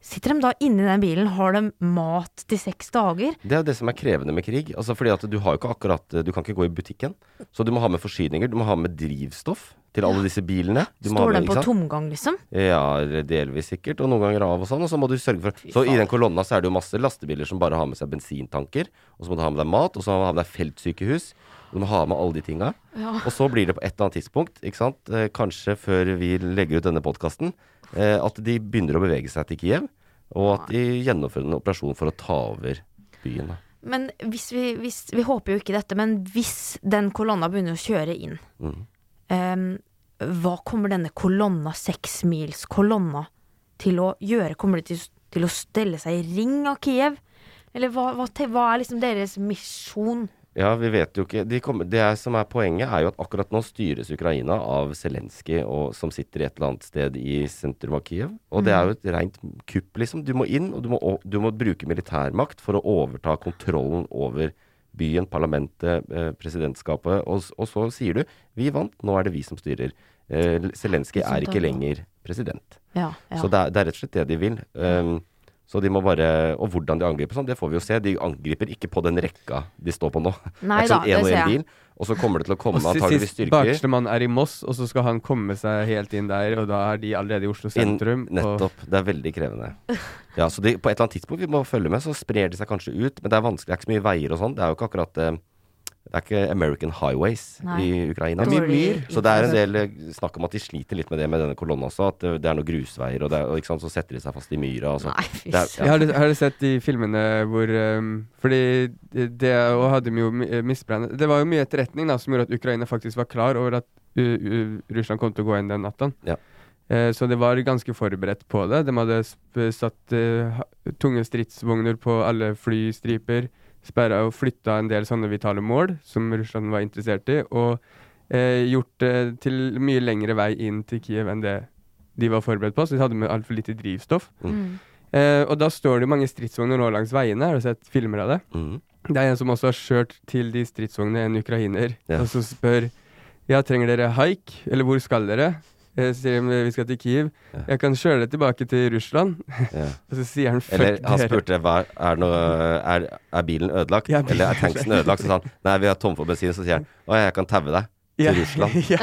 S4: sitter de da inni den bilen? Har de mat til seks dager?
S5: Det er jo det som er krevende med krig. Altså fordi at du har jo ikke akkurat Du kan ikke gå i butikken. Så du må ha med forsyninger. Du må ha med drivstoff til alle disse bilene. Du må ha
S4: Står
S5: med,
S4: de på
S5: ikke sant?
S4: tomgang, liksom?
S5: Ja, delvis sikkert, og noen ganger av og sånn. Og så må du sørge for Så i den kolonna så er det jo masse lastebiler som bare har med seg bensintanker, og så må du ha med deg mat, og så må du ha med deg feltsykehus. Du må ha med alle de tinga. Og så blir det på et eller annet tidspunkt, ikke sant, eh, kanskje før vi legger ut denne podkasten, eh, at de begynner å bevege seg til Kiev, og at de gjennomfører en operasjon for å ta over byen. Da.
S4: Men hvis vi, hvis, vi håper jo ikke dette, men hvis den kolonna begynner å kjøre inn
S5: Mm.
S4: ehm, Hva kommer denne kolonna, seksmilskolonna, til å gjøre? Kommer de til, til å stelle seg i ring av Kiev? Eller hva, hva, te- hva er liksom deres misjon?
S5: Ja, vi vet jo ikke. De kommer, det er, som er poenget, er jo at akkurat nå styres Ukraina av Zelenskyj, og- som sitter i et eller annet sted i sentrum av Kiev. Og det er jo et rent kupp, liksom. Du må inn, og du må, o- du må bruke militærmakt for å overta kontrollen over byen, parlamentet, eh, presidentskapet. Og, s- og så sier du 'vi vant, nå er det vi som styrer'. Eh, Zelenskyj er ikke lenger president.
S4: Ja, ja.
S5: Så det er, det er rett og slett det de vil. Ehm, så de må bare, Og hvordan de angriper sånn, det får vi jo se. De angriper ikke på den rekka de står på nå.
S4: Nei
S5: Det er sånn
S4: da,
S5: en
S4: det
S5: og en
S4: ser jeg.
S5: bil, og så kommer det til å komme
S3: Og si-
S5: antageligvis
S3: sist
S5: styrker.
S3: bakerste mann er i Moss, og så skal han komme seg helt inn der, og da er de allerede i Oslo
S5: Inn-
S3: sentrum. og,
S5: nettopp. Det er veldig krevende. Ja, så de, på et eller annet tidspunkt vi må følge med, så sprer de seg kanskje ut. Men det er vanskelig, det er ikke så mye veier og sånn. Det er jo ikke akkurat eh, Det er ikke American Highways
S4: Nei.
S5: i Ukraina.
S4: Det er mye Dårlig myr.
S5: Så det er en del eh, snakk om at de sliter litt med det med denne kolonnen også. At det- det er noen grusveier, og, det er, og ikke sant, så setter de seg fast i myra. Og sånn. så.
S4: Nei, fy
S5: altså. Det er-
S4: søren.
S3: Jeg har, du- har du sett de filmene hvor um, Fordi det- det og hadde de jo mi- eh, misplan Det var jo mye etterretning da som gjorde at Ukraina faktisk var klar over at uh, uh, Russland kom til å gå inn den natta.
S5: Ja.
S3: Eh, Så det var ganske forberedt på det. De hadde sp- satt eh, ha- tunge stridsvogner på alle flystriper, sperra og flytta en del sånne vitale mål som Russland var interessert i, og eh, gjort det til mye lengre vei inn til Kiev enn det de var forberedt på. Så de hadde med altfor lite drivstoff.
S4: Mm.
S3: Eh, og da står det mange stridsvogner nå langs veiene. Har du sett filmer av det?
S1: Mhm.
S3: Det er en som også har kjørt til de stridsvognene, en ukrainer,
S1: Ja.
S3: og så spør Ja, trenger dere haik? Eller hvor skal dere? Jeg sier «Men vi skal til Kiev.
S1: Ja.
S3: Jeg kan kjøre deg tilbake til Russland.
S1: Ja.
S3: Og så sier han fuck
S1: Eller han
S3: dere.
S1: spurte hva, er, det noe, er, er bilen ødelagt,
S3: Ja, bilen-
S1: eller er tanksen ødelagt? Så sa han nei, vi er tom for bensin. Så sier han å, jeg kan taue deg.
S3: Ja.
S1: Russland.
S3: ja.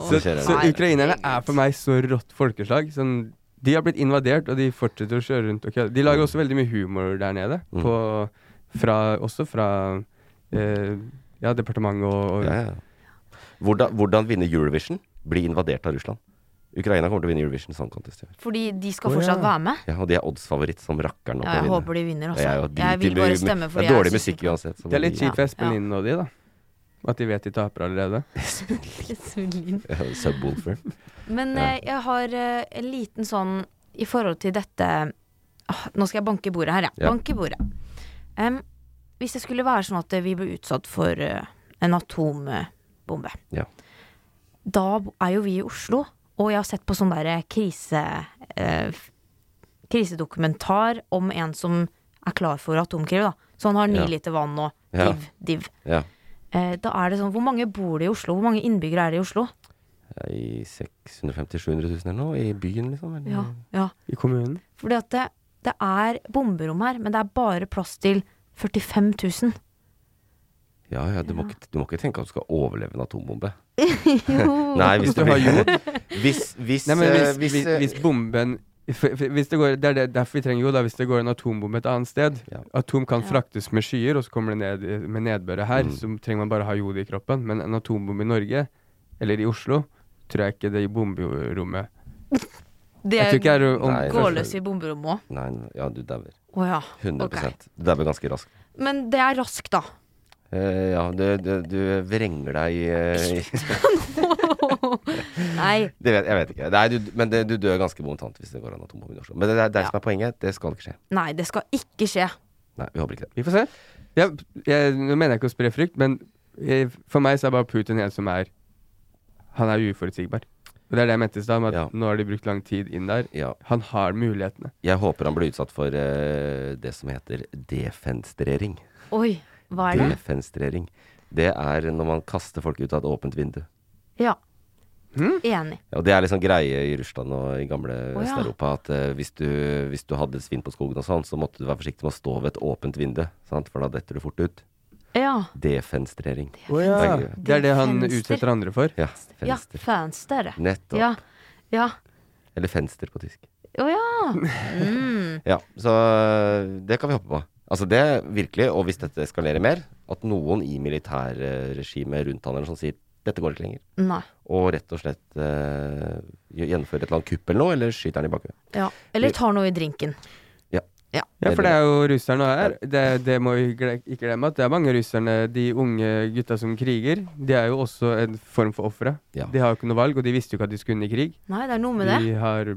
S3: Så,
S1: Så skjer det.
S3: så ukrainerne er for meg så rått folkeslag. Sånn, de har blitt invadert, og de fortsetter å kjøre rundt og kødde. De lager også veldig mye humor der nede,
S1: Mm.
S3: på, fra, også fra eh, ja, departementet og, og
S1: Ja, ja. Hvordan, hvordan vinne Eurovision? Bli invadert av Russland. Ukraina kommer til å vinne Eurovision Song Contest. i år.
S4: Fordi de skal
S3: Å,
S4: fortsatt
S3: ja.
S4: være med.
S1: Ja, og de er oddsfavoritt som rakkeren. nå til å
S4: Ja, jeg
S1: vinne.
S4: håper de vinner
S1: Jeg
S4: også.
S1: er jo
S4: Jeg vil
S1: dritig
S4: bare
S1: mu-
S4: stemme for
S1: Det er dårlig musikk uansett. så
S3: Det er litt
S1: vi-
S3: kjipt for Espen
S4: Ja.
S3: Lind og de, da. At de vet de taper allerede.
S4: uansett.
S1: Ja, Subwoolfer.
S4: Men
S1: Ja.
S4: eh, jeg har eh, en liten sånn i forhold til dette ah, Nå skal jeg banke i bordet her, jeg.
S1: Ja.
S4: Banke i bordet. Em, hvis det skulle være sånn at eh, vi ble utsatt for eh, en atombombe,
S1: Ja.
S4: da bo- er jo vi i Oslo. Og jeg har sett på sånn derre krise, eh, f- krisedokumentar om en som er klar for atomkrig, da. Så han har ni
S1: Ja.
S4: liter vann og
S1: Ja.
S4: div, div.
S1: Ja.
S4: Eh, da er det sånn, hvor mange bor det i Oslo? Hvor mange innbyggere er det i Oslo?
S1: I 650 000-700 000 eller noe? I byen, liksom? Eller?
S4: Ja, ja.
S3: I kommunen.
S4: Fordi at det, det er bomberom her, men det er bare plass til 45 000.
S1: ja, ja, du, Må ikke, du må ikke tenke at du skal overleve en atombombe.
S4: Jo.
S1: Nei, hvis
S3: Hvis
S1: du
S3: du har
S1: blir-
S3: jord.
S1: Hvis, hvis,
S3: Nei, men
S1: eh,
S3: hvis,
S1: hvis,
S3: hvis,
S1: eh,
S3: hvis bomben f- f- hvis det går, Det er det, derfor vi trenger jo da hvis det går en atombombe et annet sted.
S1: Ja.
S3: Atom kan
S4: Ja.
S3: fraktes med skyer, og så kommer det ned i- med nedbøret
S1: Mm.
S3: her. Så trenger man bare ha jord i kroppen. Men en atombombe i Norge, eller i Oslo, tror jeg ikke det i bomberommet
S4: Det
S3: Jeg tror ikke det er om
S1: Nei,
S4: går løs i bomberommet òg.
S1: Nei, nei, ja, du dauer.
S4: Å ja.
S1: 100
S4: ok.
S1: Du dauer ganske raskt.
S4: Men det er raskt, da.
S1: Eh, ja, du, du, du vrenger deg i eh, i-
S4: Nei.
S1: det vet, Jeg vet ikke. Nei, du, men det, du dør ganske momentant hvis det går an atombombe i Oslo. Men det, er det er
S4: Ja.
S1: som er poenget. Det skal ikke skje.
S4: Nei, det skal ikke skje.
S1: Nei, vi håper ikke det.
S3: Vi får se. Jeg, jeg, nå mener jeg ikke å spre frykt, men jeg, for meg så er bare Putin en som er Han er uforutsigbar. Og det er det jeg mente i stad, med at
S1: Ja.
S3: nå har de brukt lang tid inn der.
S1: Ja.
S3: Han har mulighetene.
S1: Jeg håper han blir utsatt for eh, det som heter defenstrering.
S4: Oi, hva er det?
S1: Defenstrering. Det er når man kaster folk ut av et åpent vindu.
S4: Ja.
S3: Hm?
S4: Enig.
S1: Ja, og det er liksom greie i Russland og i gamle
S4: ja.
S1: Øst-Europa at eh, hvis, du, hvis du hadde svinn på skogen og sånn, så måtte du være forsiktig med å stå ved et åpent vindu, sant? for da detter du fort ut.
S4: Ja.
S1: Defenstrering.
S3: ja.
S1: Defenster.
S3: Det er det han
S4: Defenster.
S3: utsetter andre for.
S1: Ja,
S4: Ja,
S1: fenster.
S4: fanster.
S1: Nettopp.
S4: Ja. Ja.
S1: Eller fenster på tysk.
S4: Å ja. Mm.
S1: Ja, så eh, det kan vi håpe på. Altså det er virkelig, og hvis dette eskalerer mer, at noen i militærregimet rundt han eller sånn sier dette går ikke lenger,
S4: Nei.
S1: og rett og slett eh, gjennomfører et eller annet kupp eller noe, eller skyter han i bakhodet.
S4: Ja. Eller tar noe i drinken.
S3: Ja, for det er jo russerne her. Det, det må vi gle- ikke glemme at det er mange russerne, de unge gutta som kriger, de er jo også en form for ofre.
S1: Ja.
S3: De har jo ikke noe valg, og de visste jo ikke at de skulle inn i krig.
S4: Nei, det er noe med det.
S3: De har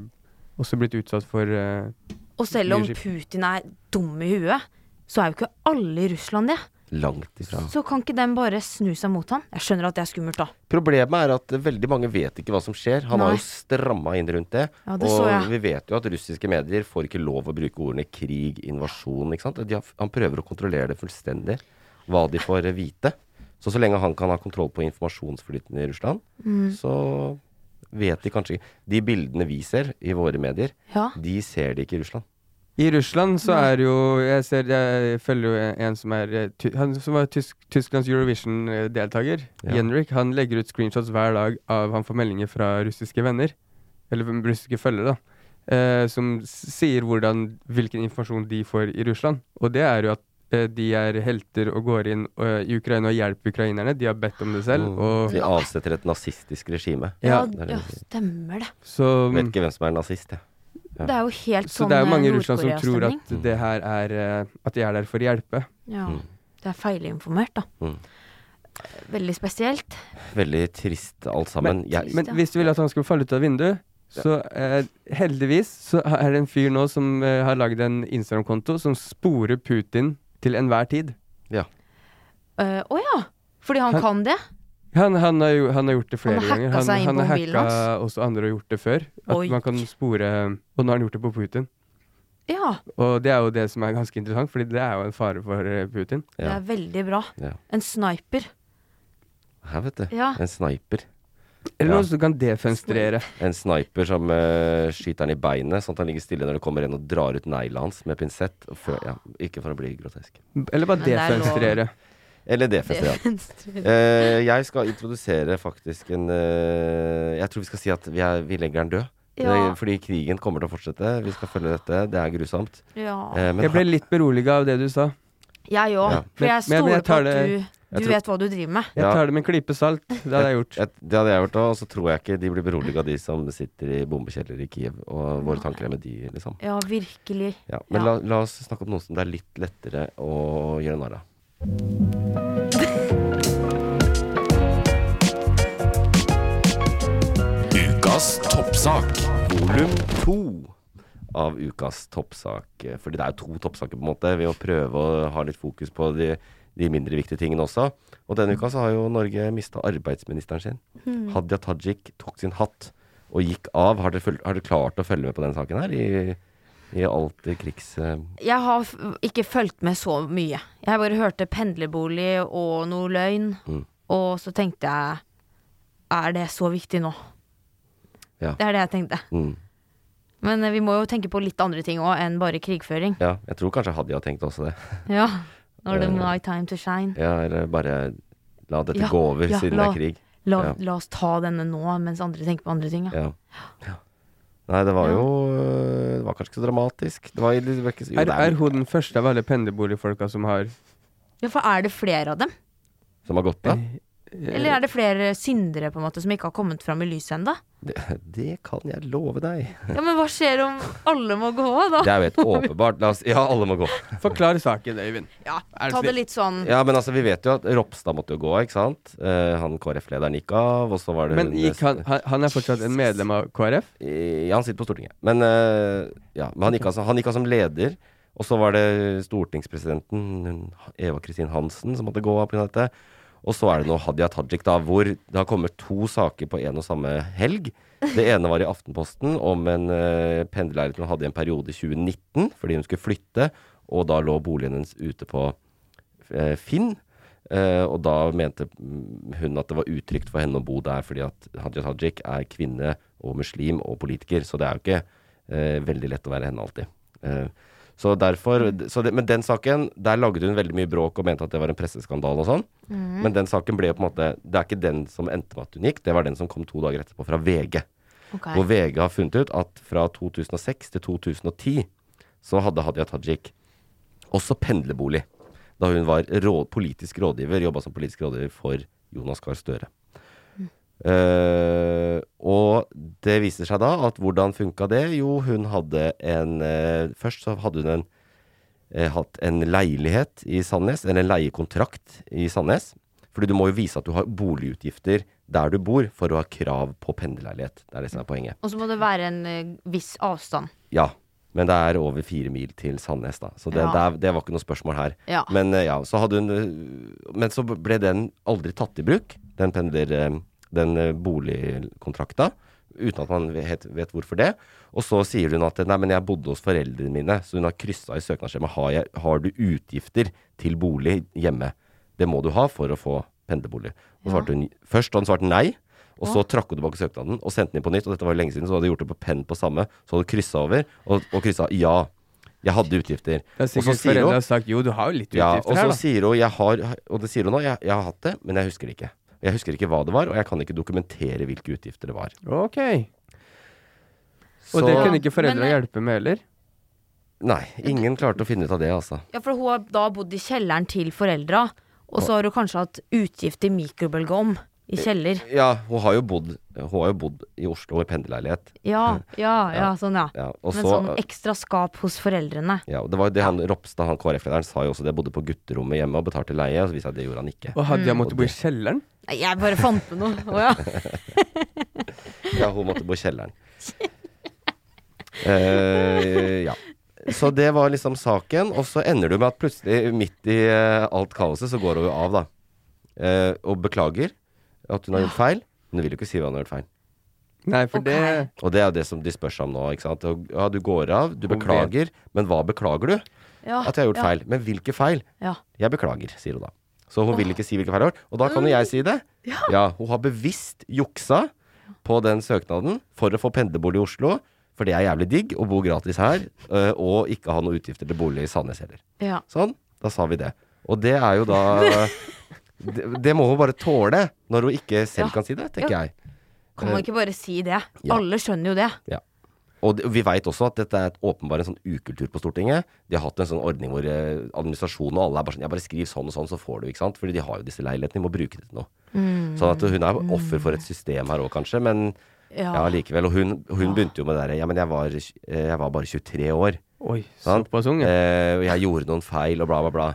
S3: også blitt utsatt for eh,
S4: Og selv om
S3: Mye skip.
S4: Putin er dum i huet, så er jo ikke alle i Russland det.
S5: eh,
S1: Langt ifra.
S4: Så kan ikke den bare snu seg mot han? Jeg skjønner at det er skummelt, da.
S1: Problemet er at veldig mange vet ikke hva som skjer. Han har
S4: Nei.
S1: jo stramma inn rundt det.
S4: Ja, det
S1: og
S4: så jeg.
S1: vi vet jo at russiske medier får ikke lov å bruke ordene krig, invasjon, ikke sant. De har, han prøver å kontrollere det fullstendig, hva de får vite. Så så lenge han kan ha kontroll på informasjonsflyten i Russland,
S4: Mm.
S1: så vet de kanskje ikke De bildene vi ser i våre medier,
S4: Ja.
S1: de ser de ikke i Russland.
S3: I Russland så er jo Jeg, ser, jeg følger jo en som er eh, ty, Han som var tysk, Tysklands Eurovision-deltaker,
S1: Ja.
S3: Jenrik, han legger ut screenshots hver dag av Han får meldinger fra russiske venner, eller hvem- russiske følgere, da, eh, som s- sier hvordan, hvilken informasjon de får i Russland. Og det er jo at eh, de er helter og går inn eh, i Ukraina og hjelper ukrainerne. De har bedt om det selv.
S1: Mm.
S3: Og,
S1: De avsetter et nazistisk regime.
S4: Ja,
S3: Ja.
S1: Det er det
S4: ja,
S1: vi sier.
S4: stemmer det.
S3: så
S1: Vet ikke hvem som er nazist, jeg. Ja.
S4: Det er jo helt
S3: så
S4: sånn
S3: det er jo mange i
S4: eh,
S3: Russland som tror
S4: Nord-Korea-stemning.
S3: at det her er eh, At de er der for å hjelpe.
S4: Ja. Det er feilinformert, da.
S1: Mm.
S4: Veldig spesielt.
S1: Veldig trist alt sammen. jeg,
S3: Men hvis du ville at han skulle falle ut av vinduet, så eh, heldigvis så er det en fyr nå som eh, har lagd en Instagram-konto som sporer Putin til enhver tid.
S4: Eh, Å ja! Fordi han,
S3: Han-
S4: kan det?
S3: Han, han, har, jo, han har gjort det flere
S4: Han har hacka
S3: ganger. Han,
S4: seg inn
S3: han
S4: på
S3: har
S4: mobilen
S3: hacka også andre og gjort det før. At
S4: Oi.
S3: man kan spore Og nå har han gjort det på Putin.
S4: Ja,
S3: Og det er jo det som er ganske interessant, Fordi det er jo en fare for eh, Putin.
S4: det
S1: ja.
S4: er veldig bra.
S1: Ja.
S4: En sniper.
S1: Her, vet du.
S4: Ja.
S1: En sniper.
S3: Eller
S1: Ja.
S3: noe som kan defenstrere.
S1: En sniper som eh, skyter han i beinet, sånn at han ligger stille når det kommer en og drar ut negla hans med pinsett. og fø-
S4: Ah.
S1: ja, ikke for å bli grotesk.
S3: Eller bare
S4: Men det er lov.
S3: defenstrere.
S1: Eller defensiv. Ja. Eh, jeg skal introdusere faktisk en eh, Jeg tror vi skal si at vi, er, vi legger den død.
S4: Ja.
S1: Det- Fordi krigen kommer til å fortsette. Vi skal følge dette. Det er grusomt.
S4: Ja.
S1: Eh, men
S3: Jeg ble
S1: her-
S3: litt beroliga av det du sa.
S4: Jeg òg.
S1: Ja.
S4: For
S3: Men-
S4: jeg
S3: men- men
S4: stoler
S3: jeg
S4: på
S3: tar
S4: at
S3: det-
S4: du,
S1: jeg
S4: du
S1: tror-
S4: vet hva du driver med.
S3: Jeg
S1: Ja.
S3: tar det med en klype salt. Det hadde jeg gjort.
S1: Jeg- det hadde jeg gjort òg, og så tror jeg ikke de blir beroliga, de som sitter i bombekjeller i Kiev. Og våre tanker er med de, liksom.
S4: Ja, virkelig.
S1: Ja, men
S4: Ja.
S1: La, la oss snakke om noe som det er litt lettere å gjøre narr av.
S2: Ukas toppsak.
S1: Volum to av ukas toppsak. Fordi det er jo to toppsaker, på en måte, ved å prøve å ha litt fokus på de, de mindre viktige tingene også. Og denne uka så har jo Norge mista arbeidsministeren sin. Hadia Tajik tok sin hatt og gikk av. Har dere, føl- har dere klart å følge med på den saken her? I, i alt det krigs... eh,
S4: Jeg har f ikke fulgt med så mye. Jeg bare hørte pendlerbolig og noe løgn.
S1: Mm.
S4: Og så tenkte jeg Er det så viktig nå?
S1: Ja.
S4: Det er det jeg tenkte.
S1: Mm.
S4: Men eh, vi må jo tenke på litt andre ting òg enn bare krigføring.
S1: Ja, jeg tror kanskje Hadia tenkte også det.
S4: Ja. Når det
S1: Eh.
S4: my time to shine.
S1: Ja, eller bare la dette
S4: Ja,
S1: gå over
S4: ja,
S1: siden
S4: la-
S1: det er krig.
S4: La,
S1: Ja.
S4: la oss ta denne nå, mens andre tenker på andre ting. Ja.
S1: Ja. Ja. Nei, det var jo øh, Det var kanskje ikke så dramatisk. Det var, i- det var ikke, så- jo,
S3: Er,
S1: det er,
S3: er hun den første av alle pendlerboligfolka som har
S4: ja, For er det flere av dem?
S1: som har gått av.
S3: eh,
S4: Eller er det flere syndere på en måte som ikke har kommet fram i lyset ennå?
S1: Det, det kan jeg love deg.
S4: Ja, men hva skjer om alle må gå av, da?
S1: Det er jo helt åpenbart. La oss, ja, alle må gå.
S3: Forklar saken, Øyvind.
S4: Ja,
S3: Er det
S4: ta det
S3: snill?
S4: litt sånn
S1: Ja, men altså, vi vet jo at Ropstad måtte jo gå, ikke sant? Eh, han KrF-lederen gikk av, og så var det
S3: Men
S1: hun-
S3: gikk han, han, han er fortsatt en medlem av KrF?
S1: Ja, han sitter på Stortinget. Men, eh, ja, men han, gikk av, som- han gikk av som leder. Og så var det stortingspresidenten hun- Eva Kristin Hansen som måtte gå av pga. dette. Og så er det nå Hadia Tajik, da, hvor det har kommet to saker på en og samme helg. Det ene var i Aftenposten om en uh, pendlerleilighet hun hadde i en periode i 2019 fordi hun skulle flytte, og da lå boligen hennes ute på eh, Finn. Eh, og da mente mm, hun at det var utrygt for henne å bo der, fordi at Hadia Tajik er kvinne og muslim og politiker, så det er jo ikke eh, veldig lett å være henne alltid. Eh, så derfor, så det, Men den saken, der lagde hun veldig mye bråk og mente at det var en presseskandale og sånn. Men den saken ble jo på en måte Det er ikke den som endte med at hun gikk, det var den som kom to dager etterpå fra VG.
S4: ok.
S1: Hvor VG har funnet ut at fra 2006 til 2010 så hadde Hadia Tajik også pendlerbolig. Da hun var råd, politisk rådgiver, jobba som politisk rådgiver for Jonas Gahr Støre. Eh, og det viser seg da at hvordan funka det? Jo, hun hadde en eh, Først så hadde hun en, eh, hatt en leilighet i Sandnes, eller en leiekontrakt i Sandnes. Fordi du må jo vise at du har boligutgifter der du bor, for å ha krav på pendlerleilighet. Det er det som er poenget.
S4: Og så må det være en eh, viss avstand.
S1: Ja, men det er over fire mil til Sandnes, da. Så det,
S4: Ja.
S1: det, er, det var ikke noe spørsmål her.
S4: Ja.
S1: Men, eh, ja, så hadde hun, eh, men så ble den aldri tatt i bruk, den pendler... eh, Den eh, boligkontrakta, uten at man vet, vet hvorfor det. Og så sier hun at nei, men jeg bodde hos foreldrene mine, så hun har kryssa i søknadsskjemaet har, jeg- har du utgifter til bolig hjemme. Det må du ha for å få pendlerbolig. Og svarte hun, først hadde hun svart nei, og så trakk hun tilbake søknaden og sendte den inn på nytt. Og dette var jo lenge siden, så hadde hun gjort det på penn på samme. Så hadde hun kryssa over, og, og kryssa ja. Jeg hadde utgifter.
S3: Det er
S1: Og så
S3: sikkert
S1: sier hun-
S3: foreldre har sagt jo, du har jo litt
S1: ja,
S3: utgifter
S1: og så
S3: her, da.
S1: sier hun jeg har, Og det sier hun nå, jeg, jeg har hatt det, men jeg husker det ikke. Jeg husker ikke hva det var, og jeg kan ikke dokumentere hvilke utgifter det var.
S3: Ok.
S1: Så-
S3: Og det kunne ikke foreldra
S4: Men- eh,
S3: hjelpe med heller?
S1: Nei, ingen klarte å finne ut av det, altså.
S4: Ja, for hun har da bodd i kjelleren til foreldra, og så har hun kanskje hatt utgift til mikrobølgeovn. I kjeller.
S1: Ja, hun har jo bodd, hun har jo bodd i Oslo i pendlerleilighet.
S4: Ja, ja, ja, sånn, ja.
S1: Ja, og
S4: Men
S1: så,
S4: sånn ekstra skap hos foreldrene.
S1: ja, og det var jo det han Ropstad, han KrF-lederen, sa jo også det. Bodde på gutterommet hjemme og betalte leie. Og så viste det seg at det gjorde han ikke.
S3: Og Hadia måtte bo i kjelleren?
S4: Nei, jeg bare fant på noe. Å, ja.
S1: Ja, hun måtte bo i kjelleren. Eh, ja. Så det var liksom saken. Og så ender du med at plutselig, midt i eh, alt kaoset, så går hun jo av, da. Eh, og beklager at hun har gjort feil. Men hun vil jo ikke si hva hun har gjort feil.
S3: Nei, for
S4: Ok.
S3: det
S1: Og det er jo det som de spør seg om nå. ikke sant? Og, Ja, du går av, du
S3: Hun
S1: beklager, men hva beklager du?
S4: Ja,
S1: At jeg har gjort
S4: ja,
S1: feil. Men hvilke feil?
S4: Ja.
S1: Jeg beklager, sier hun da. Så hun vil ikke si hvilke feil hun har. gjort. Og da kan jo jeg si det. Ja. Hun har bevisst juksa på den søknaden for å få pendlerbolig i Oslo. For det er jævlig digg å bo gratis her, øh, og ikke ha noen utgifter til bolig i Sandnes heller.
S4: Ja.
S1: Sånn, da sa vi det. Og det er jo da det, det må hun bare tåle, når hun ikke selv
S4: Ja.
S1: kan si det, tenker
S4: Ja.
S1: jeg.
S4: Kan man ikke bare si det?
S1: Ja.
S4: Alle skjønner jo det.
S1: Og det- vi veit også at dette er et åpenbar en sånn ukultur på Stortinget. De har hatt en sånn ordning hvor eh, administrasjonen og alle er bare sånn Ja, bare skriv sånn og sånn, så får du, ikke sant. Fordi de har jo disse leilighetene, de må bruke det til noe.
S4: Mm.
S1: Sånn at hun er offer for et system her òg, kanskje. Men
S4: Ja.
S1: ja, likevel. Og hun, hun begynte jo med det derre Ja, men jeg var, eh, jeg var bare 23 år.
S3: Oi,
S1: Sant?
S3: såpass ung, ja.
S1: Eh, og jeg gjorde noen feil, og bla, bla, bla.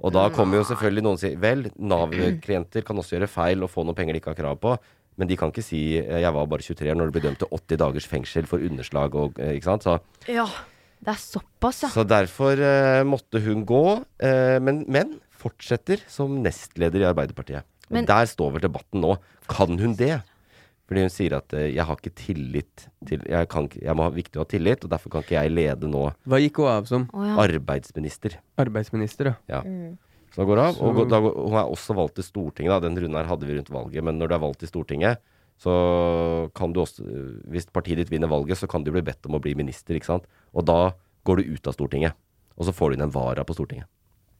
S1: Og
S4: Mm.
S1: da kommer jo selvfølgelig noen og sier Vel, Nav-klienter kan også gjøre feil og få noen penger de ikke har krav på. Men de kan ikke si eh, 'jeg var bare 23' år når du blir dømt til 80 dagers fengsel for underslag og eh, Ikke sant? Så,
S4: Ja. Det er såpass, ja.
S1: så derfor eh, måtte hun gå. Eh, men, men fortsetter som nestleder i Arbeiderpartiet. Og
S4: Men-
S1: der står vel debatten nå. Kan hun det? Fordi hun sier at eh, 'jeg har ikke tillit til Jeg, kan, ikke- jeg må ha viktig å ha tillit, og derfor kan ikke jeg lede nå
S3: Hva gikk hun av som?
S4: Å, ja.
S1: arbeidsminister'.
S3: Arbeidsminister, ja.
S1: Ja. Så da går det av. Og
S3: Så-
S1: gå- da, går- hun er også valgt til Stortinget. Da. Den runden her hadde vi rundt valget, men når du er valgt til Stortinget, så kan du også eh, Hvis partiet ditt vinner valget, så kan du bli bedt om å bli minister, ikke sant. Og da går du ut av Stortinget. Og så får du inn en vara på Stortinget.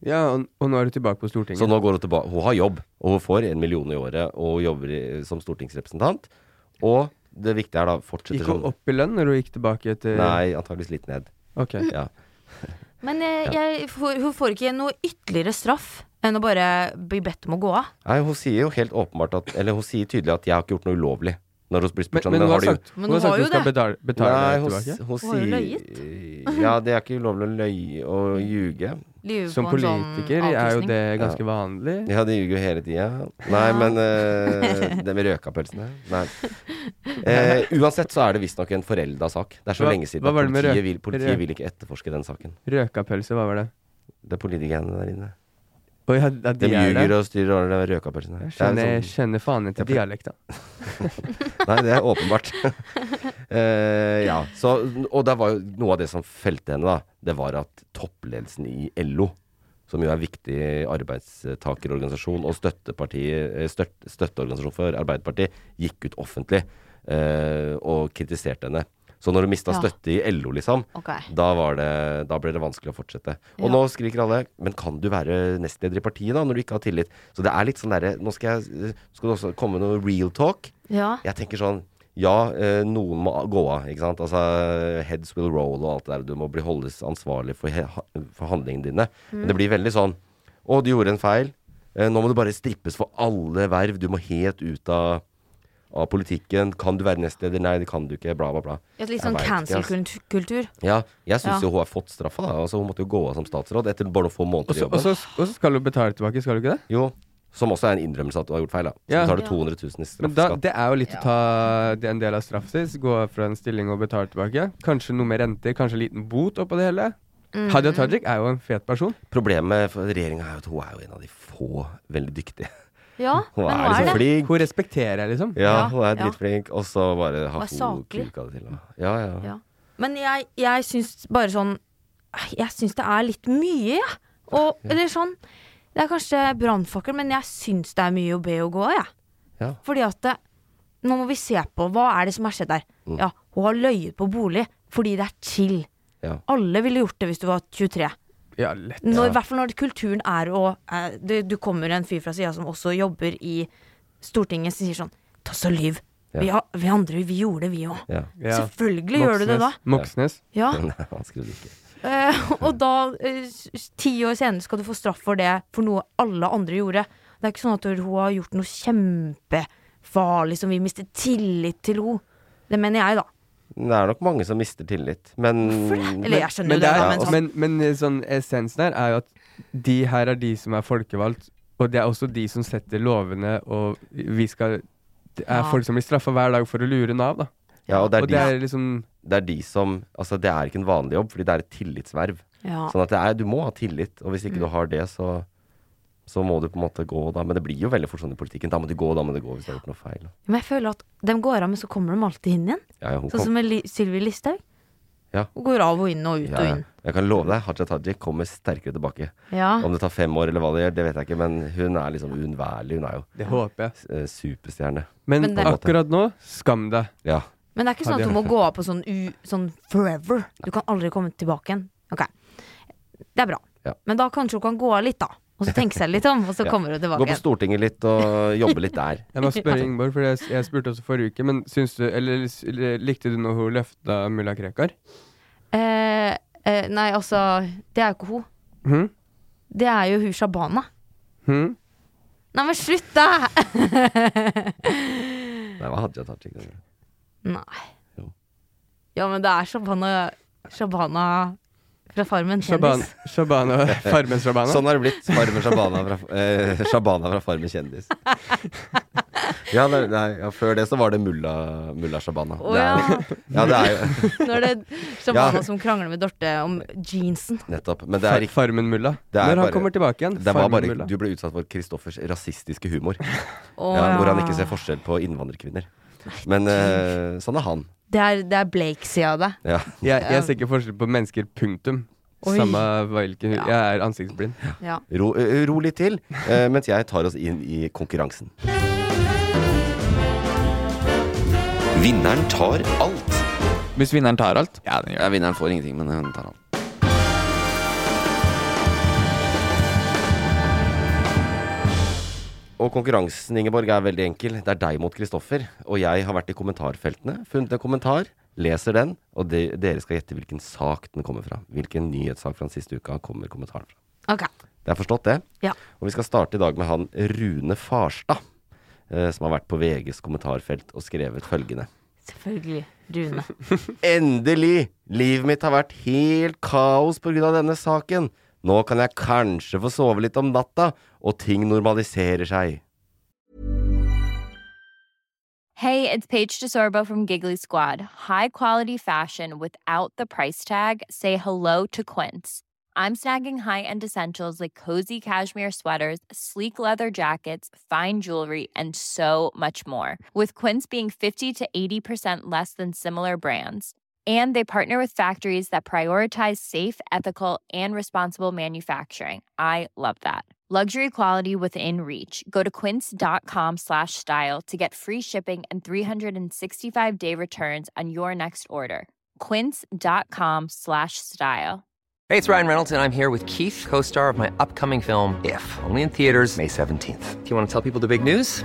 S3: Ja, og, og nå er du tilbake på Stortinget.
S1: Så nå går hun tilbake. Hun har jobb, og hun får en million i året, og hun jobber i, eh, som stortingsrepresentant. Og det viktige er da fortsetter
S3: gikk hun
S1: sånn.
S3: opp eh? i lønn når hun gikk tilbake til
S1: Nei, antageligvis litt ned.
S3: Ok.
S1: Ja.
S4: Men eh, jeg, får- hun får ikke noe ytterligere straff enn å bare bli bedt om å gå av.
S1: Nei, hun sier jo helt åpenbart at Eller hun sier tydelig at 'jeg har ikke gjort noe ulovlig'. Når hun blir spurt
S3: Men,
S1: sånn,
S3: men hun har
S1: du gjort-
S3: sagt,
S4: Men
S3: hun, har
S4: hun har
S3: sagt
S4: jo
S3: hun skal
S4: det.
S3: betale, betale
S1: Nei, hun,
S3: tilbake.
S1: hun
S4: Hun har jo
S1: sier Ja, det er ikke ulovlig å løye og ljuge.
S4: Lyve
S3: Som
S4: på en sånn
S3: politiker er jo
S4: avkrysning.
S3: det ganske vanlig.
S1: Ja, de ljuger jo hele tida. Nei, men eh, Det med røkapølsene Nei. Eh, uansett så er det visstnok en forelda sak. Det er så
S3: Hva-
S1: lenge siden
S3: hva
S1: at
S3: var det med
S1: politiet,
S3: røk-
S1: vil,
S3: røk-
S1: politiet vil ikke etterforske den saken.
S3: Røkapølse, hva var det?
S1: Det er politikerne der inne.
S3: Oi, ja, ja,
S1: De
S3: de er
S1: ljuger
S3: der.
S1: og styrer over de røkapølsene.
S3: Jeg
S1: Det er en
S3: kjenner,
S1: sånn-
S3: jeg kjenner faen
S1: Jeg
S3: ikke
S1: pleier-
S3: dialekta.
S1: Nei, det er åpenbart. Eh, ja, så, og det var jo noe av det som felte henne, da. Det var at toppledelsen i LO, som jo er en viktig arbeidstakerorganisasjon og støtteparti- eh, støtt, støtteorganisasjon for Arbeiderpartiet, gikk ut offentlig eh, og kritiserte henne. Så når hun mista
S4: Ja.
S1: støtte i LO, liksom,
S4: Ok.
S1: da, var det, da ble det vanskelig å fortsette. Og
S4: Ja.
S1: nå skriker alle Men kan du være nestleder i partiet da, når du ikke har tillit? Så det er litt sånn derre Nå skal, jeg, skal det også komme noe real talk.
S4: Ja.
S1: Jeg tenker sånn Ja, eh, noen må gå av, ikke sant? Altså, heads will roll og alt det der. Du må bli holdes ansvarlig for, he- ha- for handlingene dine. Men
S4: Mm.
S1: det blir veldig sånn Å, du gjorde en feil. Eh, nå må du bare strippes for alle verv. Du må helt ut av, av politikken. Kan du være nestleder? Nei, det kan du ikke. Bla, bla, bla.
S4: Et litt
S1: Jeg
S4: sånn
S1: vet ikke, ass.
S4: cancel-kultur.
S1: Ja, jeg syns
S4: Ja.
S1: jo hun har fått straffa, da. Altså, hun måtte jo gå av som statsråd etter bare noen få
S3: Og
S1: måneder i
S3: så- og
S1: jobben.
S3: så og så skal hun betale tilbake, skal hun ikke det?
S1: Jo, som også er en innrømmelse at du har gjort feil, da. Så
S3: Ja.
S1: betaler du 200 000 i
S3: Men da,
S1: straffeskatt.
S3: det er jo litt å ta det er en del av straff sitt. Gå fra en stilling og betale tilbake. Kanskje noe med renter, kanskje en liten bot oppå det hele.
S4: Mm.
S3: Hadia Tajik er jo en fet person.
S1: Problemet for regjeringa er jo at hun er jo en av de få veldig dyktige.
S4: Ja,
S1: Hun
S4: men
S1: er
S4: hva
S1: liksom
S4: er det?
S1: flink.
S3: Hun respekterer jeg, liksom.
S1: Ja,
S4: Ja,
S1: hun er
S4: ja.
S1: dritflink. Og så bare har
S4: Hun er
S1: hun
S4: saklig.
S1: kuka det til. da. Ja, ja.
S4: Ja. Men jeg, jeg syns bare sånn Jeg syns det er litt mye, jeg. Og- Eller sånn Det er kanskje brannfakkel, men jeg syns det er mye å be å gå av, jeg.
S1: Ja.
S4: Fordi at det, Nå må vi se på hva er det som har skjedd der.
S1: Mm.
S4: Ja, hun har løyet på bolig fordi det er chill.
S1: Ja.
S4: Alle ville gjort det hvis du var 23.
S3: Ja, lett.
S4: Når, I hvert fall når kulturen er å eh, det, Du kommer en fyr fra sida som også jobber i Stortinget, som sier sånn Ta så lyv. Vi, har- vi andre, vi gjorde det, vi òg.
S1: ja.
S3: Ja.
S4: Selvfølgelig gjør du det da.
S3: Moxnes. Moxnes.
S4: Ja.
S1: Nei, han skrev det ikke.
S4: Eh, og da, eh, s- ti år senere, skal du få straff for det, for noe alle andre gjorde. Det er ikke sånn at hun har gjort noe kjempefarlig som vi mister tillit til henne. Det mener jeg, da.
S1: Det er nok mange som mister tillit, men
S4: Eller jeg skjønner
S3: men,
S4: jo det,
S3: er,
S4: da,
S1: ja,
S4: men
S1: og-
S4: sånn,
S3: men, men eh, sånn essensen her er jo at de her er de som er folkevalgt, og det er også de som setter lovene, og vi skal Det er
S4: Ja.
S3: folk som blir straffa hver dag for å lure Nav, da.
S1: ja, og det er,
S3: og det
S1: de,
S3: er liksom
S1: det er de som Altså, det er ikke en vanlig jobb, fordi det er et tillitsverv.
S4: ja.
S1: Sånn at det er, du må ha tillit, og hvis
S4: Mm.
S1: ikke du har det, så så må du på en måte gå, da. Men det blir jo veldig fort sånn i politikken. Da må du gå, da må du gå hvis du har gjort noe feil.
S4: Men jeg føler at de går av, men så kommer de alltid inn igjen.
S1: Ja, ja, hun
S4: Sånn
S1: kom.
S4: som med Li- Sylvi Listhaug.
S1: Ja.
S4: Hun går av og inn og ut
S1: Ja,
S4: og
S1: ja.
S4: inn.
S1: Jeg kan love deg, Haja Tajik kommer sterkere tilbake.
S4: Ja.
S1: Om det tar fem år eller hva det gjør, det vet jeg ikke, men hun er liksom uunnværlig. Hun er jo
S3: Det håper jeg.
S1: eh, superstjerne.
S3: Men,
S4: Men det-
S3: akkurat nå, skam deg.
S1: Ja.
S4: Men det er ikke sånn at du må gå av på sånn, u, sånn forever. Du kan aldri komme tilbake igjen. Ok, Det er bra.
S1: Ja.
S4: Men da kanskje hun kan gå av litt, da. Og så tenke seg litt om, og så kommer hun
S1: Gå
S4: tilbake
S1: på
S4: igjen.
S1: Stortinget litt og jobbe litt der.
S3: Jeg må spørre Ingeborg, for jeg, jeg spurte også forrige uke, men syns du Eller s- eller likte du når hun løfta mulla Krekar?
S4: Eh, eh, nei, altså, det er jo ikke hun.
S3: Hm?
S4: Det er jo hun Shabana.
S3: Hm?
S4: Nei, men slutt, da!
S1: Nei, hva hadde jeg tatt? ikke?
S4: nei.
S1: Jo.
S4: Ja, men det er Shabana Shabana fra Farmen.
S3: Shaban,
S4: Kjendis.
S3: Shabana, Farmen Shabana?
S1: Sånn har det blitt. Farmen Shabana fra, eh, Shabana fra Farmen kjendis. Ja, nei, nei, ja, før det så var det mulla, mulla Shabana.
S4: Å
S1: det
S4: ja.
S1: er, ja, det er jo
S4: Når det er Shabana
S1: Ja.
S4: som krangler med Dorte om jeansen.
S1: nettopp. Men det
S3: Far-
S1: er ikke
S3: Farmen Mulla.
S1: Det er
S3: Når han
S1: bare-
S3: kommer tilbake igjen.
S1: det var
S3: Farmen
S1: bare,
S3: Mulla.
S1: du ble utsatt for Kristoffers rasistiske humor, ja,
S4: Å,
S1: hvor han
S4: ja.
S1: ikke ser forskjell på innvandrerkvinner. Men eh, sånn er han.
S4: Det er, det er Blake-sida av deg.
S1: Ja.
S3: Jeg, jeg ser ikke forskjell på mennesker, punktum.
S4: Oi.
S3: Samme hvilken
S4: Ja.
S3: Jeg er ansiktsblind.
S4: Ja.
S1: Ro, eh, ro litt til, eh, mens jeg tar oss inn i konkurransen.
S2: Vinneren tar alt.
S6: Hvis vinneren tar alt
S2: Ja, den gjør det. Ja, vinneren får ingenting, men hun tar alt.
S1: Og konkurransen, Ingeborg, er veldig enkel. Det er deg mot Kristoffer. Og jeg har vært i kommentarfeltene, funnet en kommentar, leser den, og de, dere skal gjette hvilken sak den kommer fra. Hvilken nyhetssak fra den siste uka kommer kommentaren fra.
S4: Ok.
S1: Det er forstått, det?
S4: Ja.
S1: Og vi skal starte i dag med han Rune Farstad, eh, som har vært på VGs kommentarfelt og skrevet følgende.
S4: Selvfølgelig. Rune.
S1: Endelig! Livet mitt har vært helt kaos pga. denne saken. Nå kan jeg kanskje få sove litt om natta, og ting normaliserer seg.
S7: Hey, it's Paige DeSorbo from Giggly Squad. High quality fashion without the price tag. Say hello to Quince. I'm snagging high-end essentials like cozy cashmere sweaters, sleek leather jackets, fine jewelry, and so much more. With Quince being 50 to 80% less than similar brands. And they partner with factories that prioritize safe, ethical, and responsible manufacturing. I love that. Luxury quality within reach. Go to quince.com slash style to get free shipping and 365 day returns on your next order. Quince.com slash style.
S8: Hey, it's Ryan Reynolds, and I'm here with Keith, co star of my upcoming film, If, only in theaters, May 17th. Do you want to tell people the big news?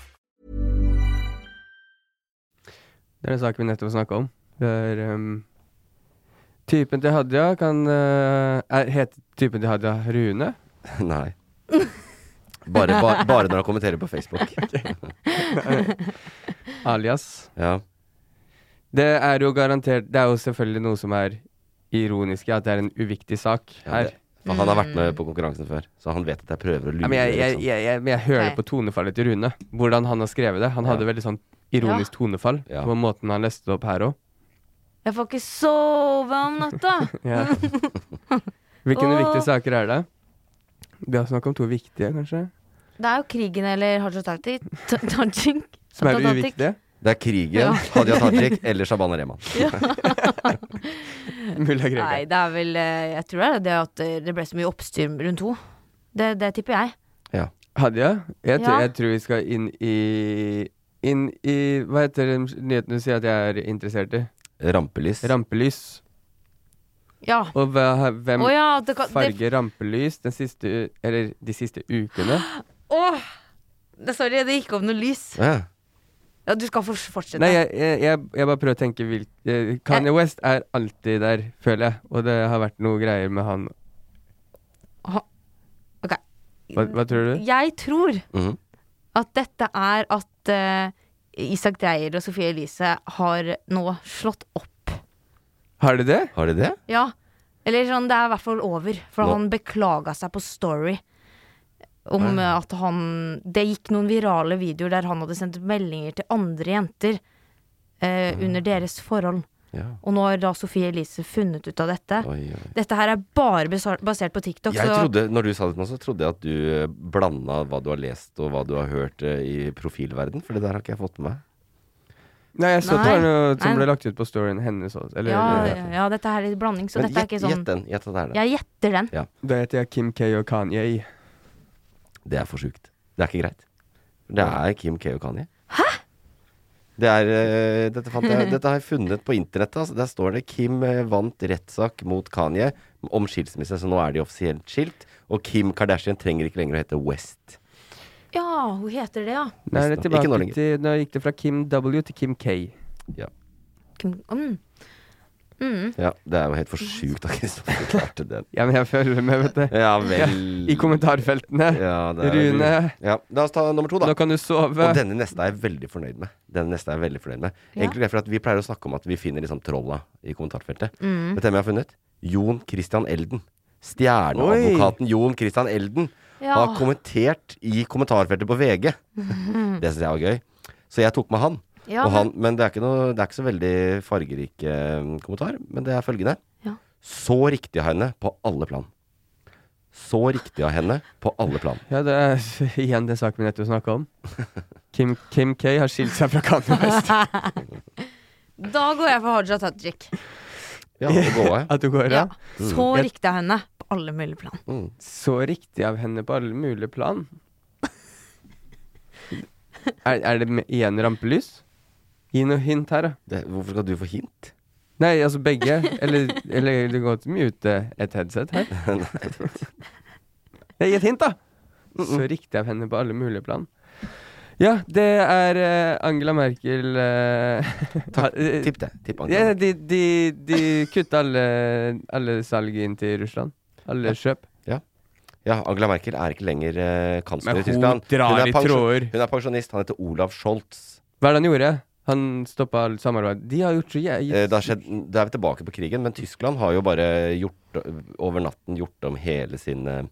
S3: Det er den saken vi nettopp snakka om. Det er ehm, Typen til Hadia kan eh, er, Heter typen til Hadia Rune?
S1: Nei. Bare, ba, bare når han kommenterer på Facebook.
S3: Alias.
S1: Ja.
S3: Det er jo garantert Det er jo selvfølgelig noe som er ironisk i at det er en uviktig sak
S1: Ja,
S3: her.
S1: det- For han har vært med på konkurransen før, så han vet at jeg prøver å lure.
S3: Ja, men jeg, jeg,
S1: liksom.
S3: jeg, jeg, men jeg hører
S1: Nei.
S3: på tonefallet til Rune. Hvordan han har skrevet det. Han hadde veldig sånn ironisk tonefall på måten han leste det opp her òg.
S4: Jeg får ikke sove om natta.
S3: Ja. Hvilke
S4: Åh.
S3: viktige saker er det? Vi har snakket om to viktige, kanskje?
S4: Det er jo krigen eller Haja Tajik. Tajik.
S1: Som er
S4: Tajik.
S1: uviktige? Det er krigen,
S4: Ja.
S1: Hadia Tajik eller Shabana Rehman.
S3: Mulla
S4: Nei, det er vel eh, Jeg tror det er det at eh, det ble så mye oppstyr rundt henne. Det, det tipper jeg.
S3: Hadia? Jeg, tror-
S4: Ja.
S3: jeg tror vi skal inn i Inn i Hva heter den nyheten du sier at jeg er interessert i?
S1: Rampelys.
S3: Rampelys.
S4: Ja.
S3: Og hva, hvem
S4: Å ja, det kan- det-
S3: farger rampelys den siste, u- eller de siste ukene?
S4: Åh! Det, sorry, det gikk opp noe lys.
S3: Ja.
S4: Ja, du skal fors- fortsette.
S3: Nei, jeg, jeg, jeg, jeg bare prøver å tenke hvil, eh, Kanye West er alltid der, føler jeg. Og det har vært noe greier med han.
S4: Ha- ok.
S3: Hva, hva tror du?
S4: Jeg tror
S1: Mhm.
S4: at dette er at eh, Isak Dreyer og Sofie Elise har nå slått opp.
S3: Har de det?
S1: Har de det?
S4: Ja. Eller sånn, det er i hvert fall over. For
S1: Nå-
S4: han beklaga seg på Story om
S1: Ah.
S4: eh, at han Det gikk noen virale videoer der han hadde sendt meldinger til andre jenter eh,
S3: Mm.
S4: under deres forhold.
S1: Ja.
S4: Og nå har da Sofie Elise funnet ut av dette.
S1: Oi, oi.
S4: Dette her er bare basa- basert på TikTok.
S1: Jeg
S4: så
S1: trodde, når du sa det nå, så trodde jeg at du eh, blanda hva du har lest og hva du har hørt eh, i profilverden, for det der har ikke jeg fått med meg.
S3: Nei, jeg så det
S4: Nei.
S3: var noe som
S4: Nei.
S3: ble lagt ut på storyen hennes også. Eller,
S4: ja,
S3: eller-
S4: ja, ja, dette her er litt blanding, så
S3: Men
S4: dette er
S3: gjett-
S4: ikke
S3: gjett
S4: sånn
S3: den, gjett at det er det.
S4: Jeg gjetter den.
S3: Da heter jeg Kim K og Kanye.
S1: Det er for sjukt. Det er ikke greit. Det er Kim K og Kanye. Hæ? Det er, eh, dette, fant jeg, dette har jeg funnet på internettet. Altså. Der står det 'Kim eh, vant rettssak mot Kanye om skilsmisse', så nå er de offisielt skilt. Og Kim Kardashian trenger ikke lenger å hete West.
S4: Ja, hun heter det, ja.
S3: Nå er det
S1: Visst da.
S3: tilbake
S1: Ikke nå lenger.
S3: til Nå gikk det fra Kim W til Kim K.
S1: Ja.
S4: Kim- Mm. Mm.
S1: Ja, det er jo helt for sjukt at Kristoffer klarte den.
S3: Ja, men jeg følger med, vet du.
S1: Ja vel.
S3: I kommentarfeltene.
S1: Ja, det er-
S3: Rune.
S1: Ja, La oss ta nummer to, da.
S3: Nå kan du sove.
S1: Og denne neste er jeg veldig fornøyd med. Denne neste er jeg veldig fornøyd med.
S3: Ja.
S1: Egentlig derfor at vi pleier å snakke om at vi finner liksom trolla i kommentarfeltet.
S3: Mm.
S1: Vet du hvem jeg har funnet? Jon Christian Elden. Stjerneadvokaten Jon Christian Elden
S3: Ja.
S1: har kommentert i kommentarfeltet på VG. Det syns jeg var gøy. Så jeg tok med han.
S3: Mhm. Ja,
S1: og han men det er, ikke noe, det er ikke så veldig fargerik eh, kommentar, men det er følgende.
S4: Ja.
S1: Så riktig av henne på alle plan. Så riktig av henne på alle plan.
S3: Ja, det er igjen den saken vi nettopp snakka om. Kim, Kim K har skilt seg fra Kanye West.
S4: Da går jeg for Haja Tajik.
S1: Ja, Mm. det går jeg.
S3: At du går, ja.
S4: Så
S3: Jeg-
S4: riktig av henne på alle mulige plan.
S3: Så riktig av henne på alle mulige plan. Er, er det med- igjen rampelys? Gi noe hint her, da.
S1: hvorfor skal du få hint?
S3: Nei, altså begge. Eller, eller det går ikke mye ut eh, et headset her. Nei, Gi et hint, da! Så riktig av henne på alle mulige plan. Ja, det er eh, Angela Merkel eh, ha- eh,
S1: Tipp det. Tipp Angela
S3: ja,
S1: Merkel.
S3: de, de, de kutta alle, alle salg inn til Russland. Alle kjøp.
S1: Ja. Ja, Angela Merkel er ikke lenger eh, kansler
S3: Men
S1: i
S3: hun
S1: Tyskland.
S3: drar
S1: er
S3: i
S1: pensjo-
S3: tråder.
S1: hun er pensjonist. Han heter Olav Scholz.
S3: Hva er det han gjorde? Han stoppa alt samarbeid. De har gjort så jævlig
S1: Eh, det har skjedd, da er vi tilbake på krigen, men Tyskland har jo bare gjort, over natten gjort om hele sin eh,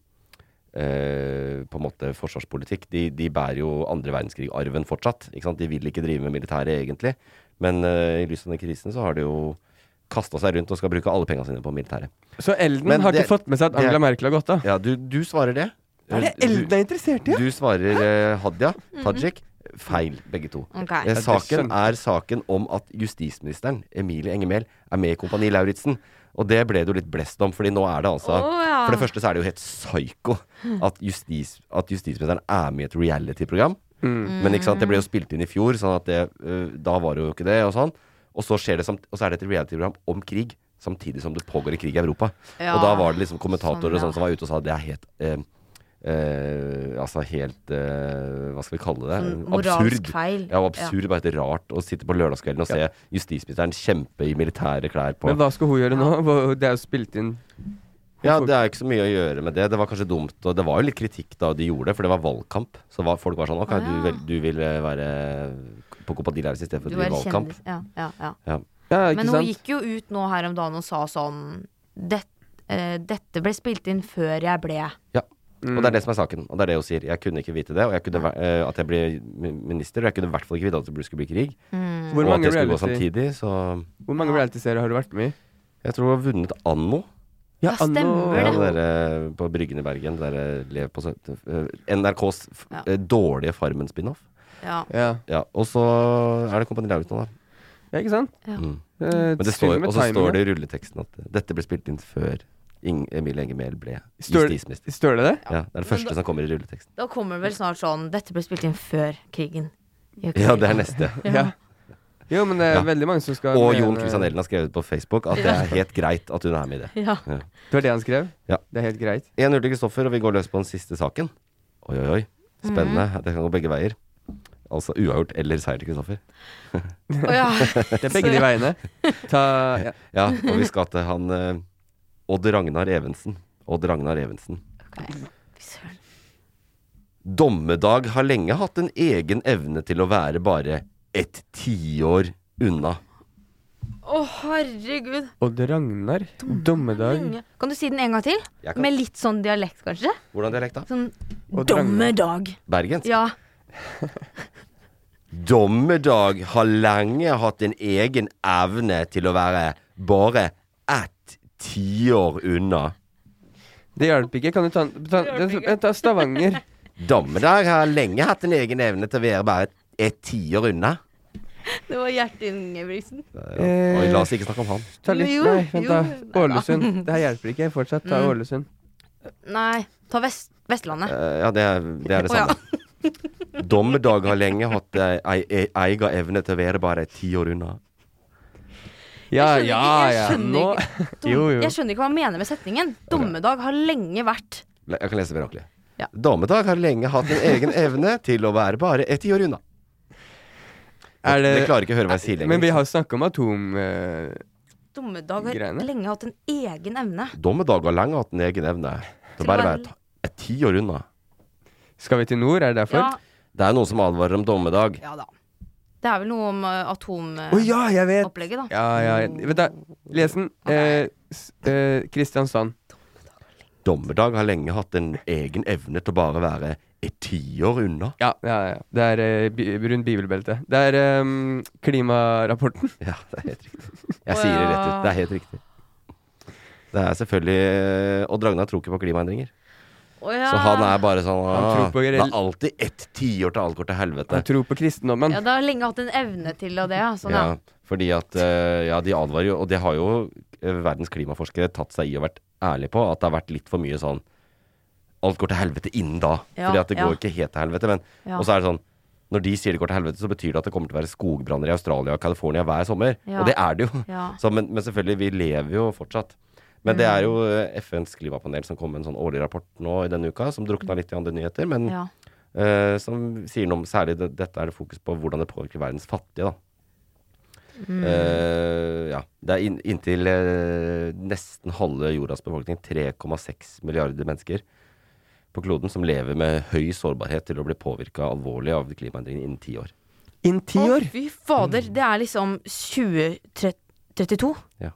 S1: eh, på en måte forsvarspolitikk. De, de bærer jo andre verdenskrig-arven fortsatt. Ikke sant? De vil ikke drive med militæret egentlig. Men eh, i lys av den krisen så har de jo kasta seg rundt og skal bruke alle penga sine på militæret.
S3: Så Elden
S1: Men
S3: har
S1: det-
S3: ikke fått med seg at
S1: det-
S3: Angela Merkel har gått av?
S1: Ja, du, du svarer det.
S3: Er det Elden er interessert i?
S1: Du svarer eh, Hadia
S3: Mm-hmm.
S1: Tajik. Feil, begge to.
S3: Ok.
S1: Eh,
S3: Ja, det
S1: Saken
S3: skjønte
S1: er saken om at justisministeren, Emilie Enger Mehl, er med i Kompani Lauritzen. Og det ble det jo litt blest om, fordi nå er det altså
S3: Å, ja.
S1: For det første så er det jo helt psyko at, justis, at justisministeren er med i et reality-program.
S3: Mm.
S1: Men ikke sant, det ble jo spilt inn i fjor, sånn at det, eh, da var det jo ikke det, og sånn. Og så, skjer det samt, og så er det et reality-program om krig, samtidig som det pågår i krig i Europa.
S3: Ja,
S1: og da var det liksom kommentatorer og
S3: sånn, ja.
S1: sånn som var ute og sa det er helt eh, eh, altså helt eh, Hva skal vi kalle det?
S4: Sånn moralsk feil.
S1: Ja, og absurd. Bare helt rart å sitte på lørdagskvelden og se justisministeren kjempe i militære klær på
S3: Men hva skal hun gjøre nå? Hva- Det er jo spilt inn.
S1: Ja, det er ikke så mye å gjøre med det. Det var kanskje dumt. Og det var jo litt kritikk da de gjorde det, for det var valgkamp. Så var, folk var sånn OK,
S4: Ah,
S1: du,
S4: ja.
S1: vel, du vil eh, være på Kompani Lauritz i stedet for å
S4: Du
S1: drive
S4: er
S1: valgkamp.
S4: kjendis. Ja, ja, ja.
S1: Ja.
S4: Men hun gikk jo ut nå her om dagen og sa sånn det, eh, Dette ble spilt inn før jeg ble
S1: Ja.
S3: Mm.
S1: Og det er det som er saken. Og det er det hun sier. Jeg kunne ikke vite det. Og jeg kunne, væ- eh, at jeg ble mi- minister. Og jeg kunne i hvert fall ikke vite at det skulle bli krig.
S3: Mm. Hvor
S1: Og at
S3: mange
S1: det skulle gå
S3: reality-
S1: samtidig, så
S3: Hvor mange realityserier har du vært med i?
S1: Jeg tror hun har vunnet Anno.
S3: Ja, Ja, Anno- stemmer
S1: Ja,
S3: det.
S1: dere på Bryggen i Bergen. Der lev på søt- eh, NRKs f
S4: Ja.
S1: eh, dårlige Farmen-spin-off.
S4: Ja.
S1: Ja, og så er det Kompani Lauritz nå, da.
S3: Ja, ikke sant?
S1: Mm.
S3: Eh,
S1: Men det står,
S3: spiller med
S1: og så står
S3: timingen.
S1: det i rulleteksten at eh, dette ble spilt inn før Ing Emilie Enger Mehl ble
S3: Står-
S1: justisminister.
S3: står det det?
S1: Ja, det er det første som kommer i rulleteksten.
S4: Da kommer det vel snart sånn Dette ble spilt inn før krigen. i Ukraina."
S1: Ja, det er neste.
S4: Ja.
S3: Jo, men det er
S1: Ja.
S3: veldig mange som skal eh,
S1: Og
S3: mene-
S1: Jon Christian Ellen har skrevet på Facebook at det
S3: Ja.
S1: er helt greit at hun er med i det.
S4: Ja.
S3: Det var det han skrev?
S1: Ja.
S3: Det er helt greit.
S1: 1-0 til Kristoffer, og vi går løs på den siste saken. Oi, oi, oi. Spennende.
S4: Mhm.
S1: Det kan gå begge veier. Altså uavgjort eller seier til Kristoffer.
S4: ja.
S3: Det er begge de veiene. Ta ja.
S1: Ja, og vi skal til han eh, Odd Ragnar Evensen. Odd Ragnar Evensen. Dommedag har lenge hatt en egen evne til å være bare et tiår unna.
S4: Å, herregud.
S3: Odd Ragnar. Dommedag.
S4: Lenge. Kan du si den en gang til?
S1: Jeg kan.
S4: Med litt sånn dialekt, kanskje?
S1: Hvordan dialekt, da?
S4: Sånn
S1: Odd
S4: dommedag.
S1: Bergensk?
S4: Ja.
S1: Dommedag har lenge hatt en egen evne til å være bare ett tiår unna.
S3: Det hjalp ikke. Kan du ta, den- ta, den- vent, ta Stavanger.
S1: Dommedag har lenge hatt en egen evne til å være bare et tiår unna.
S4: Det var Gjert Ingebrigtsen.
S1: Oi, la oss ikke snakke om han.
S3: Eh, Ta litt,
S4: Jo,
S3: nei, vent
S4: jo.
S3: da.
S4: Nei da.
S3: Ålesund. Det her hjelper ikke. Fortsatt ta
S4: Mm.
S3: Ålesund.
S4: Nei, ta Vest Vestlandet.
S1: Eh, ja, det er det, er det
S4: Å, ja.
S1: samme. Dommedag har lenge hatt eh, ei ei- egen evne til å være bare et tiår unna.
S3: Ja,
S4: skjønner ikke, jeg skjønner Dom-
S1: Jo, jo.
S4: Jeg skjønner ikke hva han mener med setningen. Dommedag har lenge vært
S1: Le- Jeg kan lese mer ordentlig.
S4: Ja.
S1: Dommedag har lenge hatt en egen evne til å være bare ett tiår unna.
S3: Er det-
S1: Jeg klarer ikke å høre hva jeg sier lenger.
S3: Eh, Men vi har snakka om atom... eh,
S4: Dommedag har
S1: Greiene.
S4: lenge hatt en egen evne.
S1: Dommedag har lenge hatt en egen evne til å
S4: Til å
S1: bare
S4: være-
S1: være et, et tiår unna.
S3: Skal vi til nord, er det derfor?
S4: Ja.
S1: Det er noen som advarer om dommedag.
S4: Ja da. Det er vel noe om eh, atomopplegget,
S3: Å ja, jeg vet!
S4: da.
S3: Ja, ja. Vent, da. Les den. Eh, s- eh, Kristiansand.
S1: Dommedag har lenge hatt en egen evne til å bare være et tiår unna.
S3: Ja, ja, ja. Det er eh, bi rundt bibelbeltet. Det er ehm, klimarapporten.
S1: Ja, det er helt riktig. Jeg sier det rett ut. Det er helt riktig. Det er selvfølgelig eh, Odd Ragnar tror ikke på klimaendringer.
S4: Å ja.
S1: Så han er bare sånn
S3: Han tror
S1: «Ah,
S3: på
S1: Det
S3: rel-
S1: er alltid ett tiår til alt går til helvete.
S3: Han tror på
S1: Sånn.
S3: kristendommen.
S4: Ja, det har lenge hatt en evne til og det, ja. Sånn,
S1: Ja,
S4: ja.
S1: fordi at eh, Ja, de advarer jo, og det har jo eh, verdens klimaforskere tatt seg i og vært ærlige på, at det har vært litt for mye sånn Alt går til helvete innen da.
S9: Ja,
S1: fordi at det
S9: ja.
S1: går ikke helt til helvete. Men,
S9: Ja.
S1: Og så er det sånn Når de sier det går til helvete, så betyr det at det kommer til å være skogbranner i Australia og California hver sommer.
S9: Ja.
S1: Og det er det jo.
S9: Ja.
S1: Så, men, men selvfølgelig, vi lever jo fortsatt. Men det er jo eh, FNs klimapanel som kom med en sånn årlig rapport nå i denne uka, som drukna litt i andre nyheter. Men
S9: Ja.
S1: eh, som sier noe om særlig det, dette er det fokus på hvordan det påvirker verdens fattige, da.
S9: Mm.
S1: Eh, ja. Det er inn- inntil eh, nesten halve jordas befolkning, 3,6 milliarder mennesker på kloden, som lever med høy sårbarhet til å bli påvirka alvorlig av klimaendringene innen ti år.
S3: Innen ti år?
S4: Fy fader, det er liksom 2032.
S1: Ja.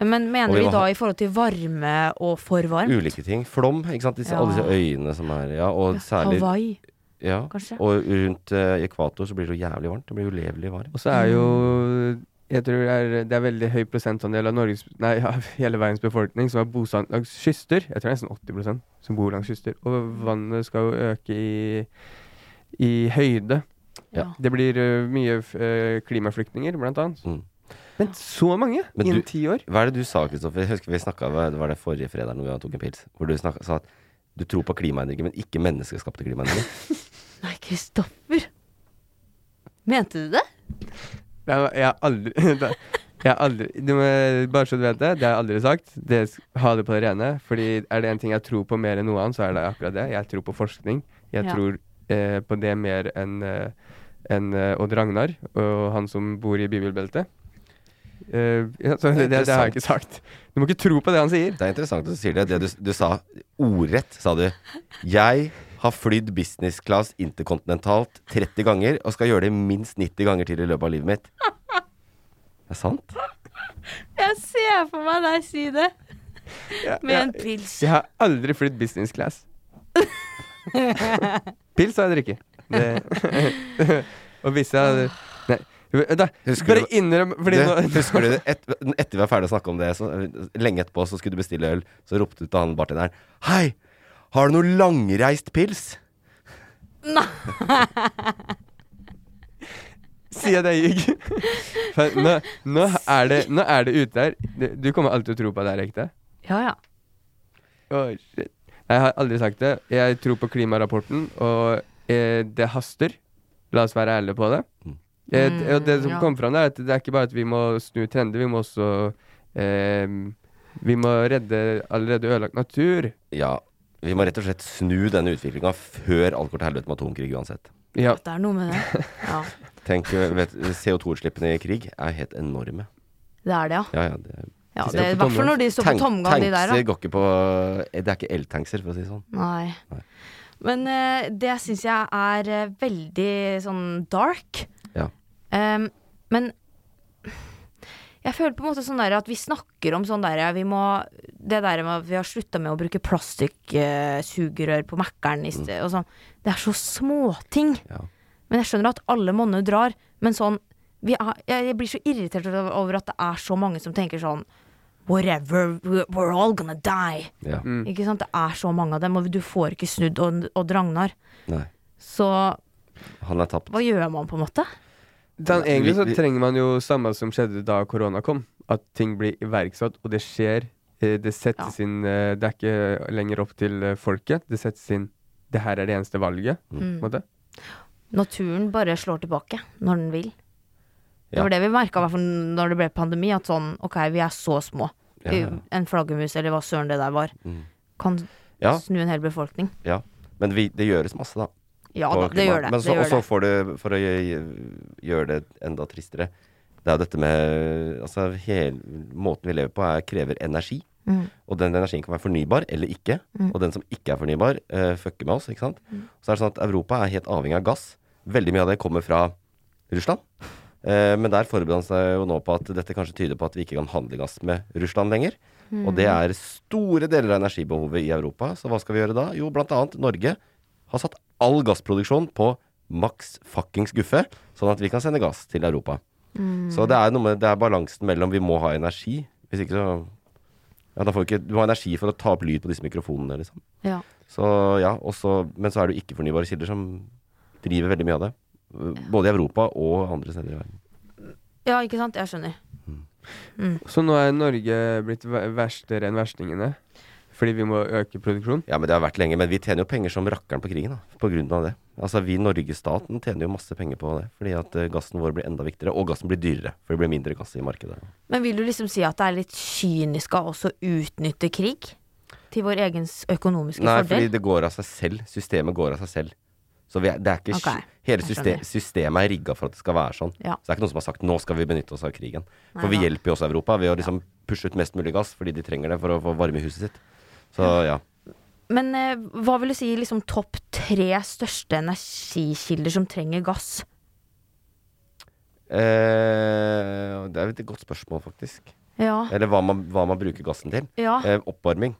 S4: Men
S1: Og
S4: mener
S1: vi
S4: vi
S1: må
S4: da
S1: ha-
S4: i forhold til varme og for varmt?
S1: Ulike ting. Flom, ikke sant. Disse, Alle disse øyene som er ja, og særlig,
S4: Hawaii.
S1: Ja,
S4: kanskje?
S1: og rundt eh, ekvator så blir det jo jævlig varmt. Det blir ulevelig varmt.
S3: Og så er jo
S1: Mm.
S3: jeg tror det er, det er veldig høy prosentandel av Norges, nei, av hele verdens befolkning som er bosatt langs kyster. Jeg tror det er nesten 80 som bor langs kyster. Og vannet skal jo øke i, i høyde.
S1: Ja.
S3: Det blir ø, mye f- ø, klimaflyktninger, blant annet.
S1: Mm.
S3: Men så mange
S1: Men
S3: innen
S1: du-
S3: ti år?
S1: Hva er det du sa, Kristoffer? Jeg husker vi snakka det var det forrige fredag når vi tok en pils, hvor du snakket, sa at du tror på klimaendringer, men ikke menneskeskapte klimaendringer.
S4: Nei, Kristoffer. Mente du det?
S3: Det er- Jeg har aldri det- Jeg har aldri, du må, bare så du vet det, det har jeg aldri sagt. Det, ha det på det rene. Fordi er det en ting jeg tror på mer enn noe annet, så er det akkurat det. Jeg tror på forskning. Jeg
S10: Ja.
S3: tror eh, på det mer enn eh, enn, eh, Odd Ragnar og han som bor i bibelbeltet. Eh, ja, så det, det, det har jeg ikke sagt. Du må ikke tro på det han sier.
S1: Det er interessant at du sier det. det du, du sa ordrett, sa du. Jeg har flydd business class interkontinentalt 30 ganger og skal gjøre det minst 90 ganger til i løpet av livet mitt. Det er sant.
S4: Jeg ser for meg deg si det. Med en pils.
S3: Jeg har aldri flydd business class. Pils har jeg drukket. Det- Og hvis jeg hadde Nei. Da, bare
S1: du-
S3: innrøm fordi
S1: du,
S3: nå-
S1: Husker du det? Et, etter vi var ferdig å snakke om det, så, lenge etterpå, så skulle du bestille øl. Så ropte du til han bartenderen Hei, har du noe langreist pils?
S3: Si at jeg ljuger. For Nå, nå, er det- nå er det ute der. Du- Du kommer alltid til å tro på at det er ekte.
S4: Ja, ja.
S3: Å, shit. Jeg har aldri sagt det. Jeg tror på klimarapporten, og eh, det haster. La oss være ærlige på det. Eh, d- og
S4: Mm,
S3: det som
S10: ja.
S3: kom fram der, er at det er ikke bare at vi må snu trender, vi må også eh, Vi må redde allerede ødelagt natur.
S1: Ja. Vi må rett og slett snu denne utviklinga før alt går til helvete med atomkrig uansett.
S3: Ja.
S4: Det er noe med det. Ja,
S1: Tenk, eh, vet, CO2-utslippene i krig er helt enorme.
S4: det er det, ja.
S1: Ja, ja, det,
S4: Ja, det er i hvert fall når de står på
S1: Tank-
S4: tomgang, de der, da.
S1: Tankser går ikke på eh, Det er ikke eltankser, for å si det sånn.
S4: Nei. Men eh, det syns jeg er eh, veldig sånn dark.
S1: Ja.
S4: Em, men jeg føler på en måte sånn der at vi snakker om sånn der vi må, Det der med at vi har slutta med å bruke plastikksugerør på Mækkern i sted og sånn. Det er så småting. Men jeg skjønner at alle monner drar. Men sånn vi er, Jeg jeg blir så irritert over- over at det er så mange som tenker sånn Whatever, we're all gonna die.
S1: Ja. Mm.
S4: Ikke sant? Det er så mange av dem, og du får ikke snudd Odd Odd Ragnar.
S1: Nei.
S4: Så
S1: Han er tapt.
S4: hva gjør man, på en måte?
S3: Sånn, egentlig så
S1: Vi- vi-
S3: trenger man jo samme som skjedde da korona kom, at ting blir iverksatt, og det skjer. Eh, Det settes inn eh, Det er ikke lenger opp til eh, folket. Det settes inn Det her er det eneste valget. på en
S4: Mm.
S3: måte.
S4: Naturen bare slår tilbake når den vil. Det
S3: Ja.
S4: var det vi merka når det ble pandemi, at sånn ok, vi er så små.
S1: Ja, ja.
S4: En flaggermus, eller hva søren det der var,
S1: Mm.
S4: kan
S1: Ja.
S4: snu en hel befolkning.
S1: Ja. Men vi, det gjøres masse, da.
S4: Ja
S1: På
S4: da, det
S1: klima.
S4: gjør det,
S1: Men så,
S4: det gjør
S1: og så
S4: det.
S1: får du, for å gjø- gjøre det enda tristere Det er jo dette med Altså, hele måten vi lever på, er, krever energi.
S10: Mm.
S1: Og den energien kan være fornybar eller ikke.
S10: Mm.
S1: Og den som ikke er fornybar, eh, fucker med oss, ikke sant.
S4: Mm.
S1: Så er det sånn at Europa er helt avhengig av gass. Veldig mye av det kommer fra Russland. Eh, men der forbereder han seg jo nå på at dette kanskje tyder på at vi ikke kan handle gass med Russland lenger. Og det
S10: Mm.
S1: er store deler av energibehovet i Europa. Så hva skal vi gjøre da? Jo, blant annet Norge har satt all gassproduksjon på maks fuckings guffe, sånn at vi kan sende gass til Europa.
S10: Mm.
S1: Så det er noe med Det er balansen mellom vi må ha energi, hvis ikke så Ja, da får vi ikke Du må ha energi for å ta opp lyd på disse mikrofonene, liksom.
S4: Ja.
S1: Så ja, og så- Men så er det jo ikke-fornybare kilder som driver veldig mye av det. Både i Europa og andre steder i verden.
S4: ja, ikke sant? Jeg skjønner.
S1: Mm.
S4: Mm.
S3: Så nå er Norge blitt ver- verstere enn verstingene. Fordi vi må øke produksjonen.
S1: Ja, men det har vært lenge. Men vi tjener jo penger som rakkeren på krigen, da. På grunn av det. Altså vi, Norgesstaten, tjener jo masse penger på det. Fordi at eh, gassen vår blir enda viktigere. Og gassen blir dyrere. For det blir mindre gass i markedet.
S4: Men vil du liksom si at det er litt kynisk av oss å utnytte krig? Til vår egen s- økonomiske
S1: Nei, fordi
S4: fordel?
S1: det går av seg selv. Systemet går av seg selv. Så vi er, det er ikke
S4: Ok,
S1: Hele
S4: jeg
S1: syste-
S4: skjønner.
S1: systemet er rigga for at det skal være sånn.
S4: Ja.
S1: Så det er ikke noen som har sagt 'nå skal vi benytte oss av krigen'.
S10: Nei
S1: For vi
S10: da.
S1: hjelper jo også Europa ved å liksom pushe ut mest mulig gass fordi de trenger det for å få varme i huset sitt. Så ja.
S4: Men eh, hva vil du si liksom topp tre største energikilder som trenger gass?
S1: Eh, det er jo et godt spørsmål, faktisk.
S4: Ja.
S1: Eller hva man, hva man bruker gassen til.
S4: Ja.
S1: Eh, oppvarming.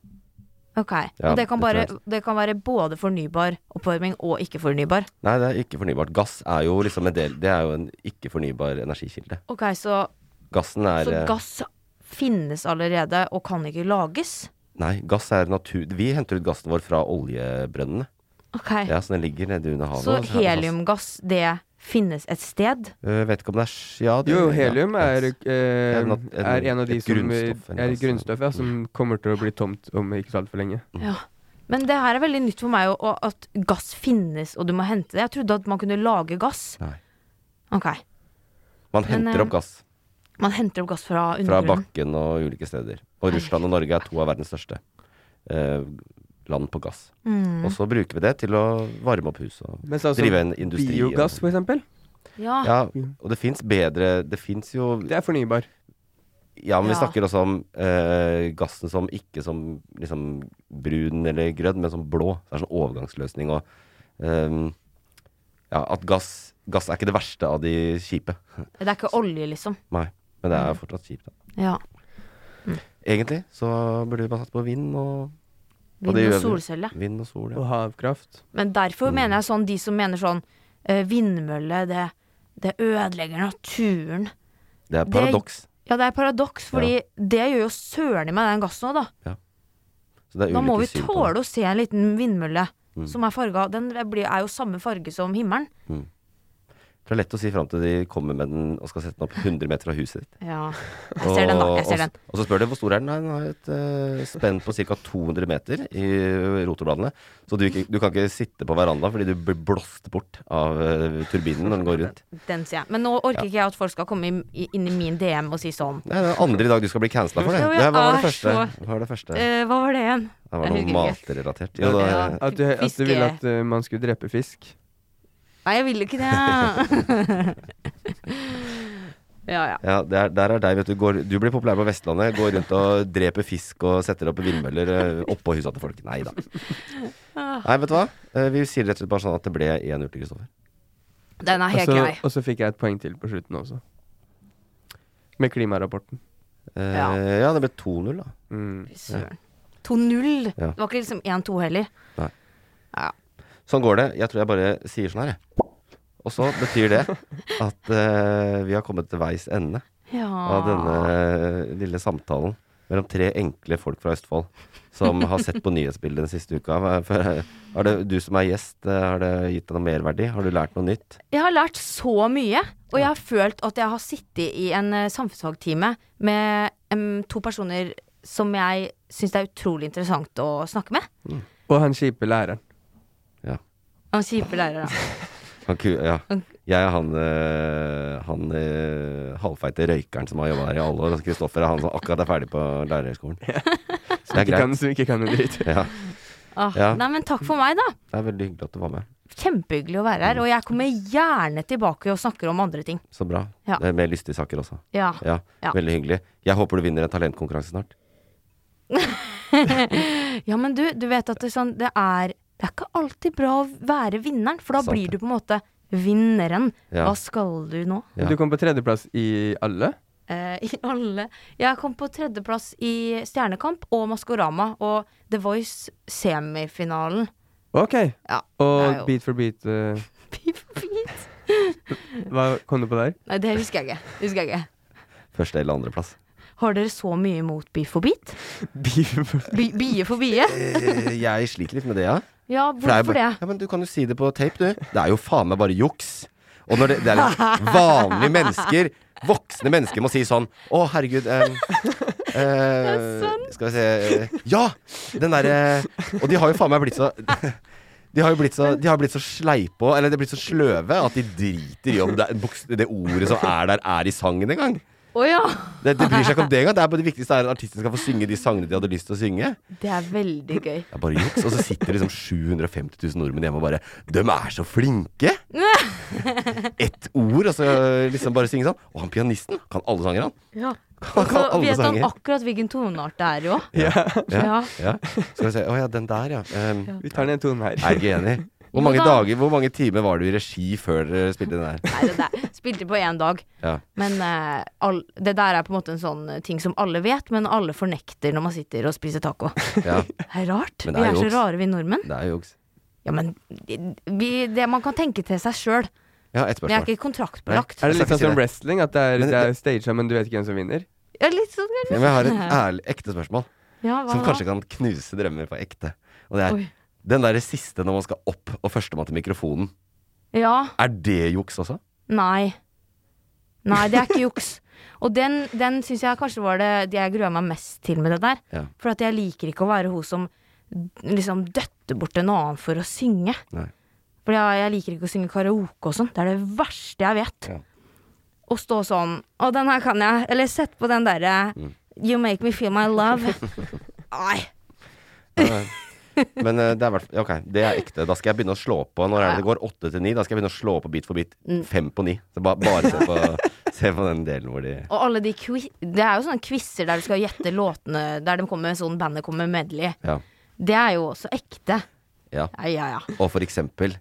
S4: Ok,
S1: Ja,
S4: og det kan,
S1: det
S4: bare,
S1: tror
S4: det kan være både fornybar oppvarming og ikke fornybar.
S1: Nei, det er ikke fornybart. Gass er jo liksom en del Det er jo en ikke-fornybar energikilde.
S4: Ok, så,
S1: Gassen er
S4: så
S1: eh,
S4: gass finnes allerede og kan ikke lages?
S1: Nei, gass er natur... Vi henter ut gassen vår fra oljebrønnene.
S4: Ok,
S1: Ja, så den ligger nede under havet.
S4: Eh. så
S1: og så er det altså. gass.
S4: heliumgass, det finnes et sted?
S1: Eh, vet ikke om det er s- Ja, det
S3: Jo,
S1: ja,
S3: helium er,
S1: et-
S3: eh,
S1: en nat-
S3: er en av de
S1: et
S3: som
S1: grunnstoff, en
S3: er et
S1: gass.
S3: grunnstoff ja, som kommer til å bli tomt om ikke så altfor lenge.
S4: Ja. Men det her er veldig nytt for meg, og, og at gass finnes, og du må hente det. Jeg trodde at man kunne lage gass.
S1: Nei.
S4: Ok.
S1: Man
S4: Men,
S1: henter
S4: eh,
S1: opp gass.
S4: Man henter opp gass fra
S1: Fra
S4: undergrunnen.
S1: bakken og ulike steder. Og Russland og Norge er to av verdens største eh, land på gass.
S4: Mm.
S1: Og så bruker vi det til å varme opp hus og
S3: Mens altså
S1: drive en industri. og-
S3: Biogass, for eksempel.
S4: Ja.
S1: Ja, og det fins bedre Det fins jo Det
S3: er fornybar.
S1: Ja, men vi
S3: Ja.
S1: snakker også om eh, gassen som ikke som liksom brun eller grønn, men som blå. Det er sånn overgangsløsning og ehm, Ja, at gass Gass er ikke det verste av de kjipe.
S4: Det er ikke olje, liksom.
S1: Nei, men det er fortsatt kjipt. da.
S4: Ja.
S1: Egentlig så burde vi bare satse på vind og
S4: Vind
S1: det gjør
S4: og
S1: vi. Mm.
S4: solceller.
S1: Vind og sol, ja.
S3: Og havkraft.
S4: Men derfor mener jeg sånn, de som mener sånn eh, Vindmølle, det, det ødelegger naturen.
S1: Det er paradoks.
S4: ja, det er paradoks, fordi det gjør jo søren i meg den gassen òg, da.
S1: Så det er
S4: Da må vi
S1: ulike syn på det.
S4: tåle å se en liten vindmølle
S1: Mm.
S4: som er farga Den blir, er jo samme farge som himmelen.
S1: Mm. Det er lett å si fram til de kommer med den og skal sette den opp 100 meter fra huset ditt.
S4: Ja. Jeg ser den, da. Jeg
S1: og,
S4: ser den.
S1: og, og så spør du hvor stor er den. Nei, den har et eh, spenn på ca. 200 meter i rotorbladene. Så du, ikke- du kan ikke sitte på verandaen fordi du blir blåst bort av eh, turbinen når den går rundt.
S4: Den sier jeg. Men nå orker
S1: Ja.
S4: ikke jeg at folk skal komme i- i- inn i min DM og si sånn.
S1: Nei, det er andre i dag du skal bli cancela for det.
S4: Jo, jeg
S1: Nei, hva var det
S4: er
S1: første?
S4: så-
S1: Hva var det første?
S4: Eh, hva var det igjen?
S1: Det var
S4: Jeg
S1: noe
S4: husker ikke.
S1: matrelatert. Jo, da,
S3: at, at, du, at du
S4: Fiske.
S3: ville at eh, man skulle drepe fisk.
S4: Nei, jeg ville ikke det. ja, ja.
S1: Ja, det er, der er deg, vet du. Går, du blir populær på Vestlandet. Går rundt og dreper fisk og setter opp vindmøller eh, oppå husa til folk. Nei da.
S4: Ah.
S1: Nei, vet du hva? Eh, Vi sier rett og slett bare sånn at det ble 1-0 til Kristoffer.
S4: Den Ah, er
S3: og
S4: helt
S3: så,
S1: Altså,
S4: grei.
S3: Og så fikk jeg et poeng til på slutten også. Med klimarapporten. Mm.
S1: Eh, ja. det ble 2-0, da.
S4: søren. 2-0.
S1: Ja.
S4: Det var ikke liksom 1-2 heller.
S1: Nei.
S4: Ja.
S1: Sånn går det. Jeg tror jeg bare sier sånn her, jeg. Og så betyr det at eh, vi har kommet til veis ende
S4: Ja.
S1: av denne eh, lille samtalen mellom tre enkle folk fra Østfold som har sett på nyhetsbildet den siste uka. Hva er- for- Har det, du som er gjest, eh, har det gitt deg noe merverdi? Har du lært noe nytt?
S4: Jeg har lært så mye, og jeg har følt at jeg har sittet i en eh, samfunnsfagtime med em, to personer som jeg syns det er utrolig interessant å snakke med.
S3: Og han kjipe læreren.
S4: Han kjipe læreren.
S1: Han, ku- ja. Jeg er han, eh, han eh, halvfeite røykeren som har jobba her i alle år. Og Kristoffer er han som akkurat er ferdig på lærerhøgskolen.
S3: Som ikke kan- som ikke kan noe dritt.
S1: Ja.
S4: Ah,
S1: Ja.
S4: Nei, men takk for meg, da.
S1: Det er veldig hyggelig at du var med.
S4: Kjempehyggelig å være her, og jeg kommer gjerne tilbake og snakker om andre ting.
S1: Så bra.
S4: Ja.
S1: Det er Med lystige saker også.
S4: Ja.
S1: ja.
S4: Ja.
S1: Veldig hyggelig. Jeg håper du vinner en talentkonkurranse snart.
S4: ja, men du, du vet at det, er sånn, det er Det er ikke alltid bra å være vinneren, for da
S3: Sant
S4: blir du på en måte vinneren.
S3: Ja.
S4: Hva skal du nå?
S3: Du kom på tredjeplass i alle.
S4: Eh, I alle Jeg kom på tredjeplass i Stjernekamp og Maskorama og The Voice-semifinalen.
S3: Ok.
S4: det
S3: Og
S4: er jo-
S3: Beat for beat. eh, hva kom du på der?
S4: Nei, det husker jeg ikke. Husker jeg ikke.
S1: Første eller andreplass.
S4: Har dere så mye imot Beef for beat?
S3: Beef
S4: Bi- Bie for bie?
S1: Eh, jeg sliter litt med det, ja.
S4: Ja,
S1: For er jo
S4: hvorfor
S1: bare-
S4: det?
S1: Ja, men Du kan jo si det på tape, du. Det er jo faen meg bare juks. Og når det, det er litt vanlige mennesker, voksne mennesker, må si sånn Å, herregud em, eh,
S4: sånn.
S1: Skal vi se eh, Ja! Den derre Og de har jo faen meg blitt så De har jo blitt så, de har blitt så sleipe og Eller de har blitt så sløve at de driter i om det, er- boks- det ordet som er der, er i sangen engang.
S4: Å ja!
S1: Det, det bryr seg ikke om det engang. Det er bare det viktigste er at artisten skal få synge de sangene de hadde lyst til å synge.
S4: Det er veldig gøy.
S1: Det er bare juks. Og så sitter liksom 750 000 nordmenn hjemme og bare Døm er så flinke! Ett ord, og så liksom bare synge sånn. Og han pianisten kan alle sanger, han.
S4: Ja.
S1: Han
S4: Og
S1: kan
S4: så
S1: alle
S4: vet han
S1: sanger.
S4: akkurat hvilken toneart det er i òg.
S1: Ja.
S4: Ja.
S1: ja. Skal vi se. Å ja, den der, ja. Um,
S3: Vi tar den tonen her.
S1: er ikke enig.
S4: Jo
S1: Hvor mange,
S4: da.
S1: dager, hvor mange timer var du i regi før dere spilte den der?
S4: Nei, det der spilte på én dag.
S1: Ja.
S4: Men eh, all, det der er på en måte en sånn ting som alle vet, men alle fornekter når man sitter og spiser taco.
S1: Ja.
S4: Det er rart.
S1: Men det
S4: vi
S1: er
S4: er så
S1: juks.
S4: rare, vi nordmenn.
S1: Det er juks.
S4: Ja, men vi, det man kan tenke til seg sjøl.
S1: Ja, ett
S4: Vi er
S1: spørsmål.
S4: ikke kontraktbelagt.
S3: Er det
S1: Jeg skal
S3: litt sånn
S1: ikke si
S3: som
S1: det.
S3: wrestling? At det er, det er staged, men du vet ikke hvem som vinner?
S4: Ja, litt sånn kanskje.
S1: Men jeg har et ærlig, ekte spørsmål
S4: Ja, hva
S1: som
S4: da?
S1: kanskje kan knuse drømmer på ekte. Og det er
S4: Oi.
S1: den derre siste når man skal opp og førstemann til mikrofonen.
S4: Ja.
S1: Er det juks også?
S4: Nei. Nei, det er ikke juks. Og den, den syns jeg kanskje var det, det jeg grua meg mest til med det der.
S1: Ja.
S4: For at jeg liker ikke å være hun som liksom døtter bort en annen for å synge.
S1: Nei.
S4: For jeg, jeg liker ikke å synge karaoke og sånn. Det er det verste jeg vet. og stå sånn Å, den her kan jeg. Eller sett på den derre
S1: Mm.
S4: You make me feel my love. Nei.
S1: Men eh, det er hvert Ok, det er ekte. Da skal jeg begynne å slå på. Når er det det går? Åtte til ni? Da skal jeg begynne å slå på bit for bit.
S4: Mm.
S1: Fem på ni. Så bare, bare se, på, se på den delen hvor de
S4: Og alle de quiz Det er jo sånne quizer der du skal gjette låtene Der de kommer med sånn bandet kommer med medley.
S1: Ja.
S4: Det er jo også ekte.
S1: ja.
S4: Ja, ja, ja.
S1: Og for eksempel,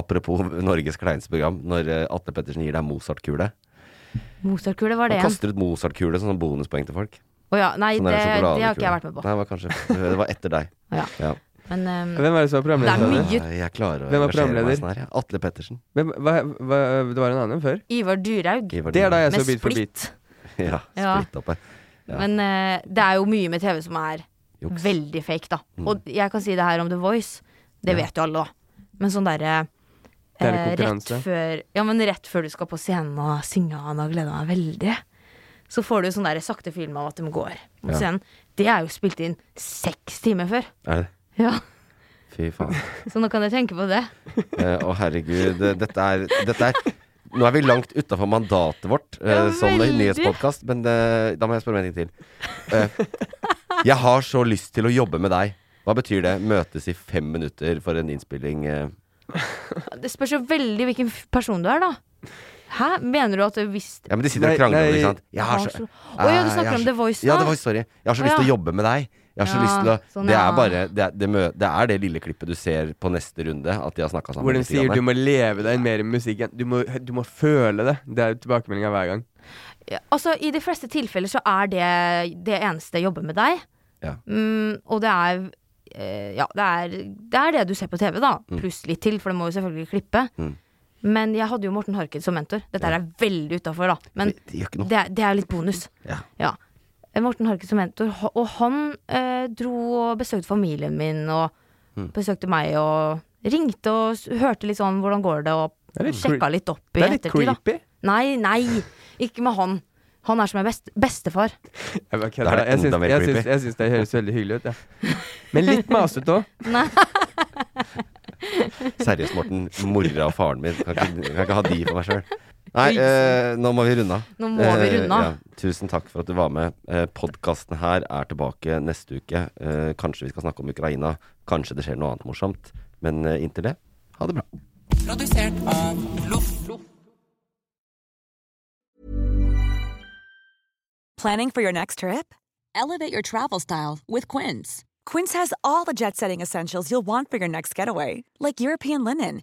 S1: apropos Norges kleineste program, når eh, Atle Pettersen gir deg Mozart-kule.
S4: Mozartkule var det
S1: Han
S4: igjen.
S1: kaster ut Mozart-kule som sånn bonuspoeng til folk.
S4: Å ja. Nei,
S1: Sånn
S4: det,
S1: der
S4: det
S1: sjokoladekule.
S4: har ikke jeg vært med
S1: Nei,
S4: på.
S1: det var kanskje Det var etter deg.
S4: Ja. Men ehm,
S3: Hvem er det som er programleder?
S4: Det er mye-
S1: Nei, Jeg klarer å
S3: Hvem er
S1: engasjere meg
S3: programleder?
S1: sånn her. jeg. Atle Pettersen.
S3: Hvem, hva, hva, det var en annen før?
S4: Ivar Dyrhaug.
S1: Ivar
S3: Det er da jeg
S4: Med
S3: så Bit for
S4: Split.
S3: bit.
S1: Ja.
S4: Ja.
S1: Splitt opp her. Ja.
S4: Men eh, det er jo mye med TV som er
S1: Juks.
S4: veldig fake, da.
S1: Mm.
S4: Og jeg kan si det her om The Voice, det vet jo alle, da. Men sånn derre
S3: Det er en
S4: eh, rett,
S3: konkurranse.
S4: før, ja, men rett før du skal på scenen og synge 'Han har gleda meg veldig', så får du sånn der sakte film av at de går mot
S1: Ja.
S4: scenen. Det er jo spilt inn seks timer før.
S1: Er det
S4: Ja,
S1: Fy faen.
S4: Så nå kan jeg tenke på det.
S1: Eh, Å, herregud. eh, Dette er, dette er Nå er vi langt utafor mandatet vårt eh,
S4: Ja,
S1: som
S4: veldig.
S1: nyhetspodkast, men eh, da må jeg spørre om en ting til. Eh, jeg har så lyst til å jobbe med deg. Hva betyr det? Møtes i fem minutter for en innspilling? eh?
S4: Det spørs jo veldig hvilken f- person du er, da. Hæ? Mener du at du hvis
S1: Ja, men de sitter og krangler om det, ikke sant? Jeg har så-
S4: Å ja, du
S1: Eh, jeg
S4: snakker
S1: har
S4: om
S1: så-
S4: The Voice nå?
S1: Ja, The Voice, sorry. Jeg har så
S4: Å,
S1: lyst til å
S4: ja.
S1: jobbe med deg. Jeg har så
S4: Ja,
S1: lyst til å
S4: sånn,
S1: Det
S4: ja.
S1: er bare det er det, mø, det er det lille klippet du ser på neste runde, at de har snakka sammen.
S3: Hvor de
S1: litt
S3: sier
S1: grann.
S3: du må leve deg inn mer i musikken. Du må, du må føle det. Det er tilbakemeldinga hver gang.
S4: Altså, I de fleste tilfeller så er det det eneste jeg jobber med deg.
S1: Ja.
S4: Mm, og det er eh, Ja, det er, det er det du ser på TV, da.
S1: Mm.
S4: Pluss litt til, for det må jo selvfølgelig klippe.
S1: Mm.
S4: Men jeg hadde jo Morten Harket som mentor. Dette her er veldig utafor, da. Men
S1: det, gjør ikke noe.
S4: det, er jo litt bonus.
S1: Ja.
S4: Ja. Eh, Morten Harket som mentor, ho- og han eh, dro og besøkte familien min, og
S1: Mm.
S4: besøkte meg, og ringte og s- hørte litt sånn hvordan går det,
S3: Det er
S4: og
S3: litt
S4: sjekka
S3: creep-
S4: litt opp i
S3: det er litt
S4: ettertid. da.
S3: creepy.
S4: Nei, nei, ikke med han. Han er som er best, bestefar.
S3: Jeg, bare
S1: Da er
S3: kødder.
S1: det
S3: jeg, syns,
S1: enda mer
S3: jeg,
S1: creepy.
S3: syns, jeg syns det høres veldig hyggelig ut, ja. Men litt masete òg.
S4: Nei.
S1: Seriøst, Morten. Mora og faren min. Kan ikke, kan ikke ha de for meg sjøl. Nei, eh, nå må vi runde av.
S4: Nå må vi runde av.
S1: Eh, Tusen takk for at du var med. Eh, Podkasten her er tilbake neste uke. Eh, kanskje vi skal snakke om Ukraina. Kanskje det skjer noe annet morsomt. Men eh, inntil det, ha det bra.
S10: Produsert av Loff.
S11: Planning for your next trip?
S12: Elevate your travel style with Quince.
S11: Quince has all the jet setting essentials you'll want for your next getaway, like European linen,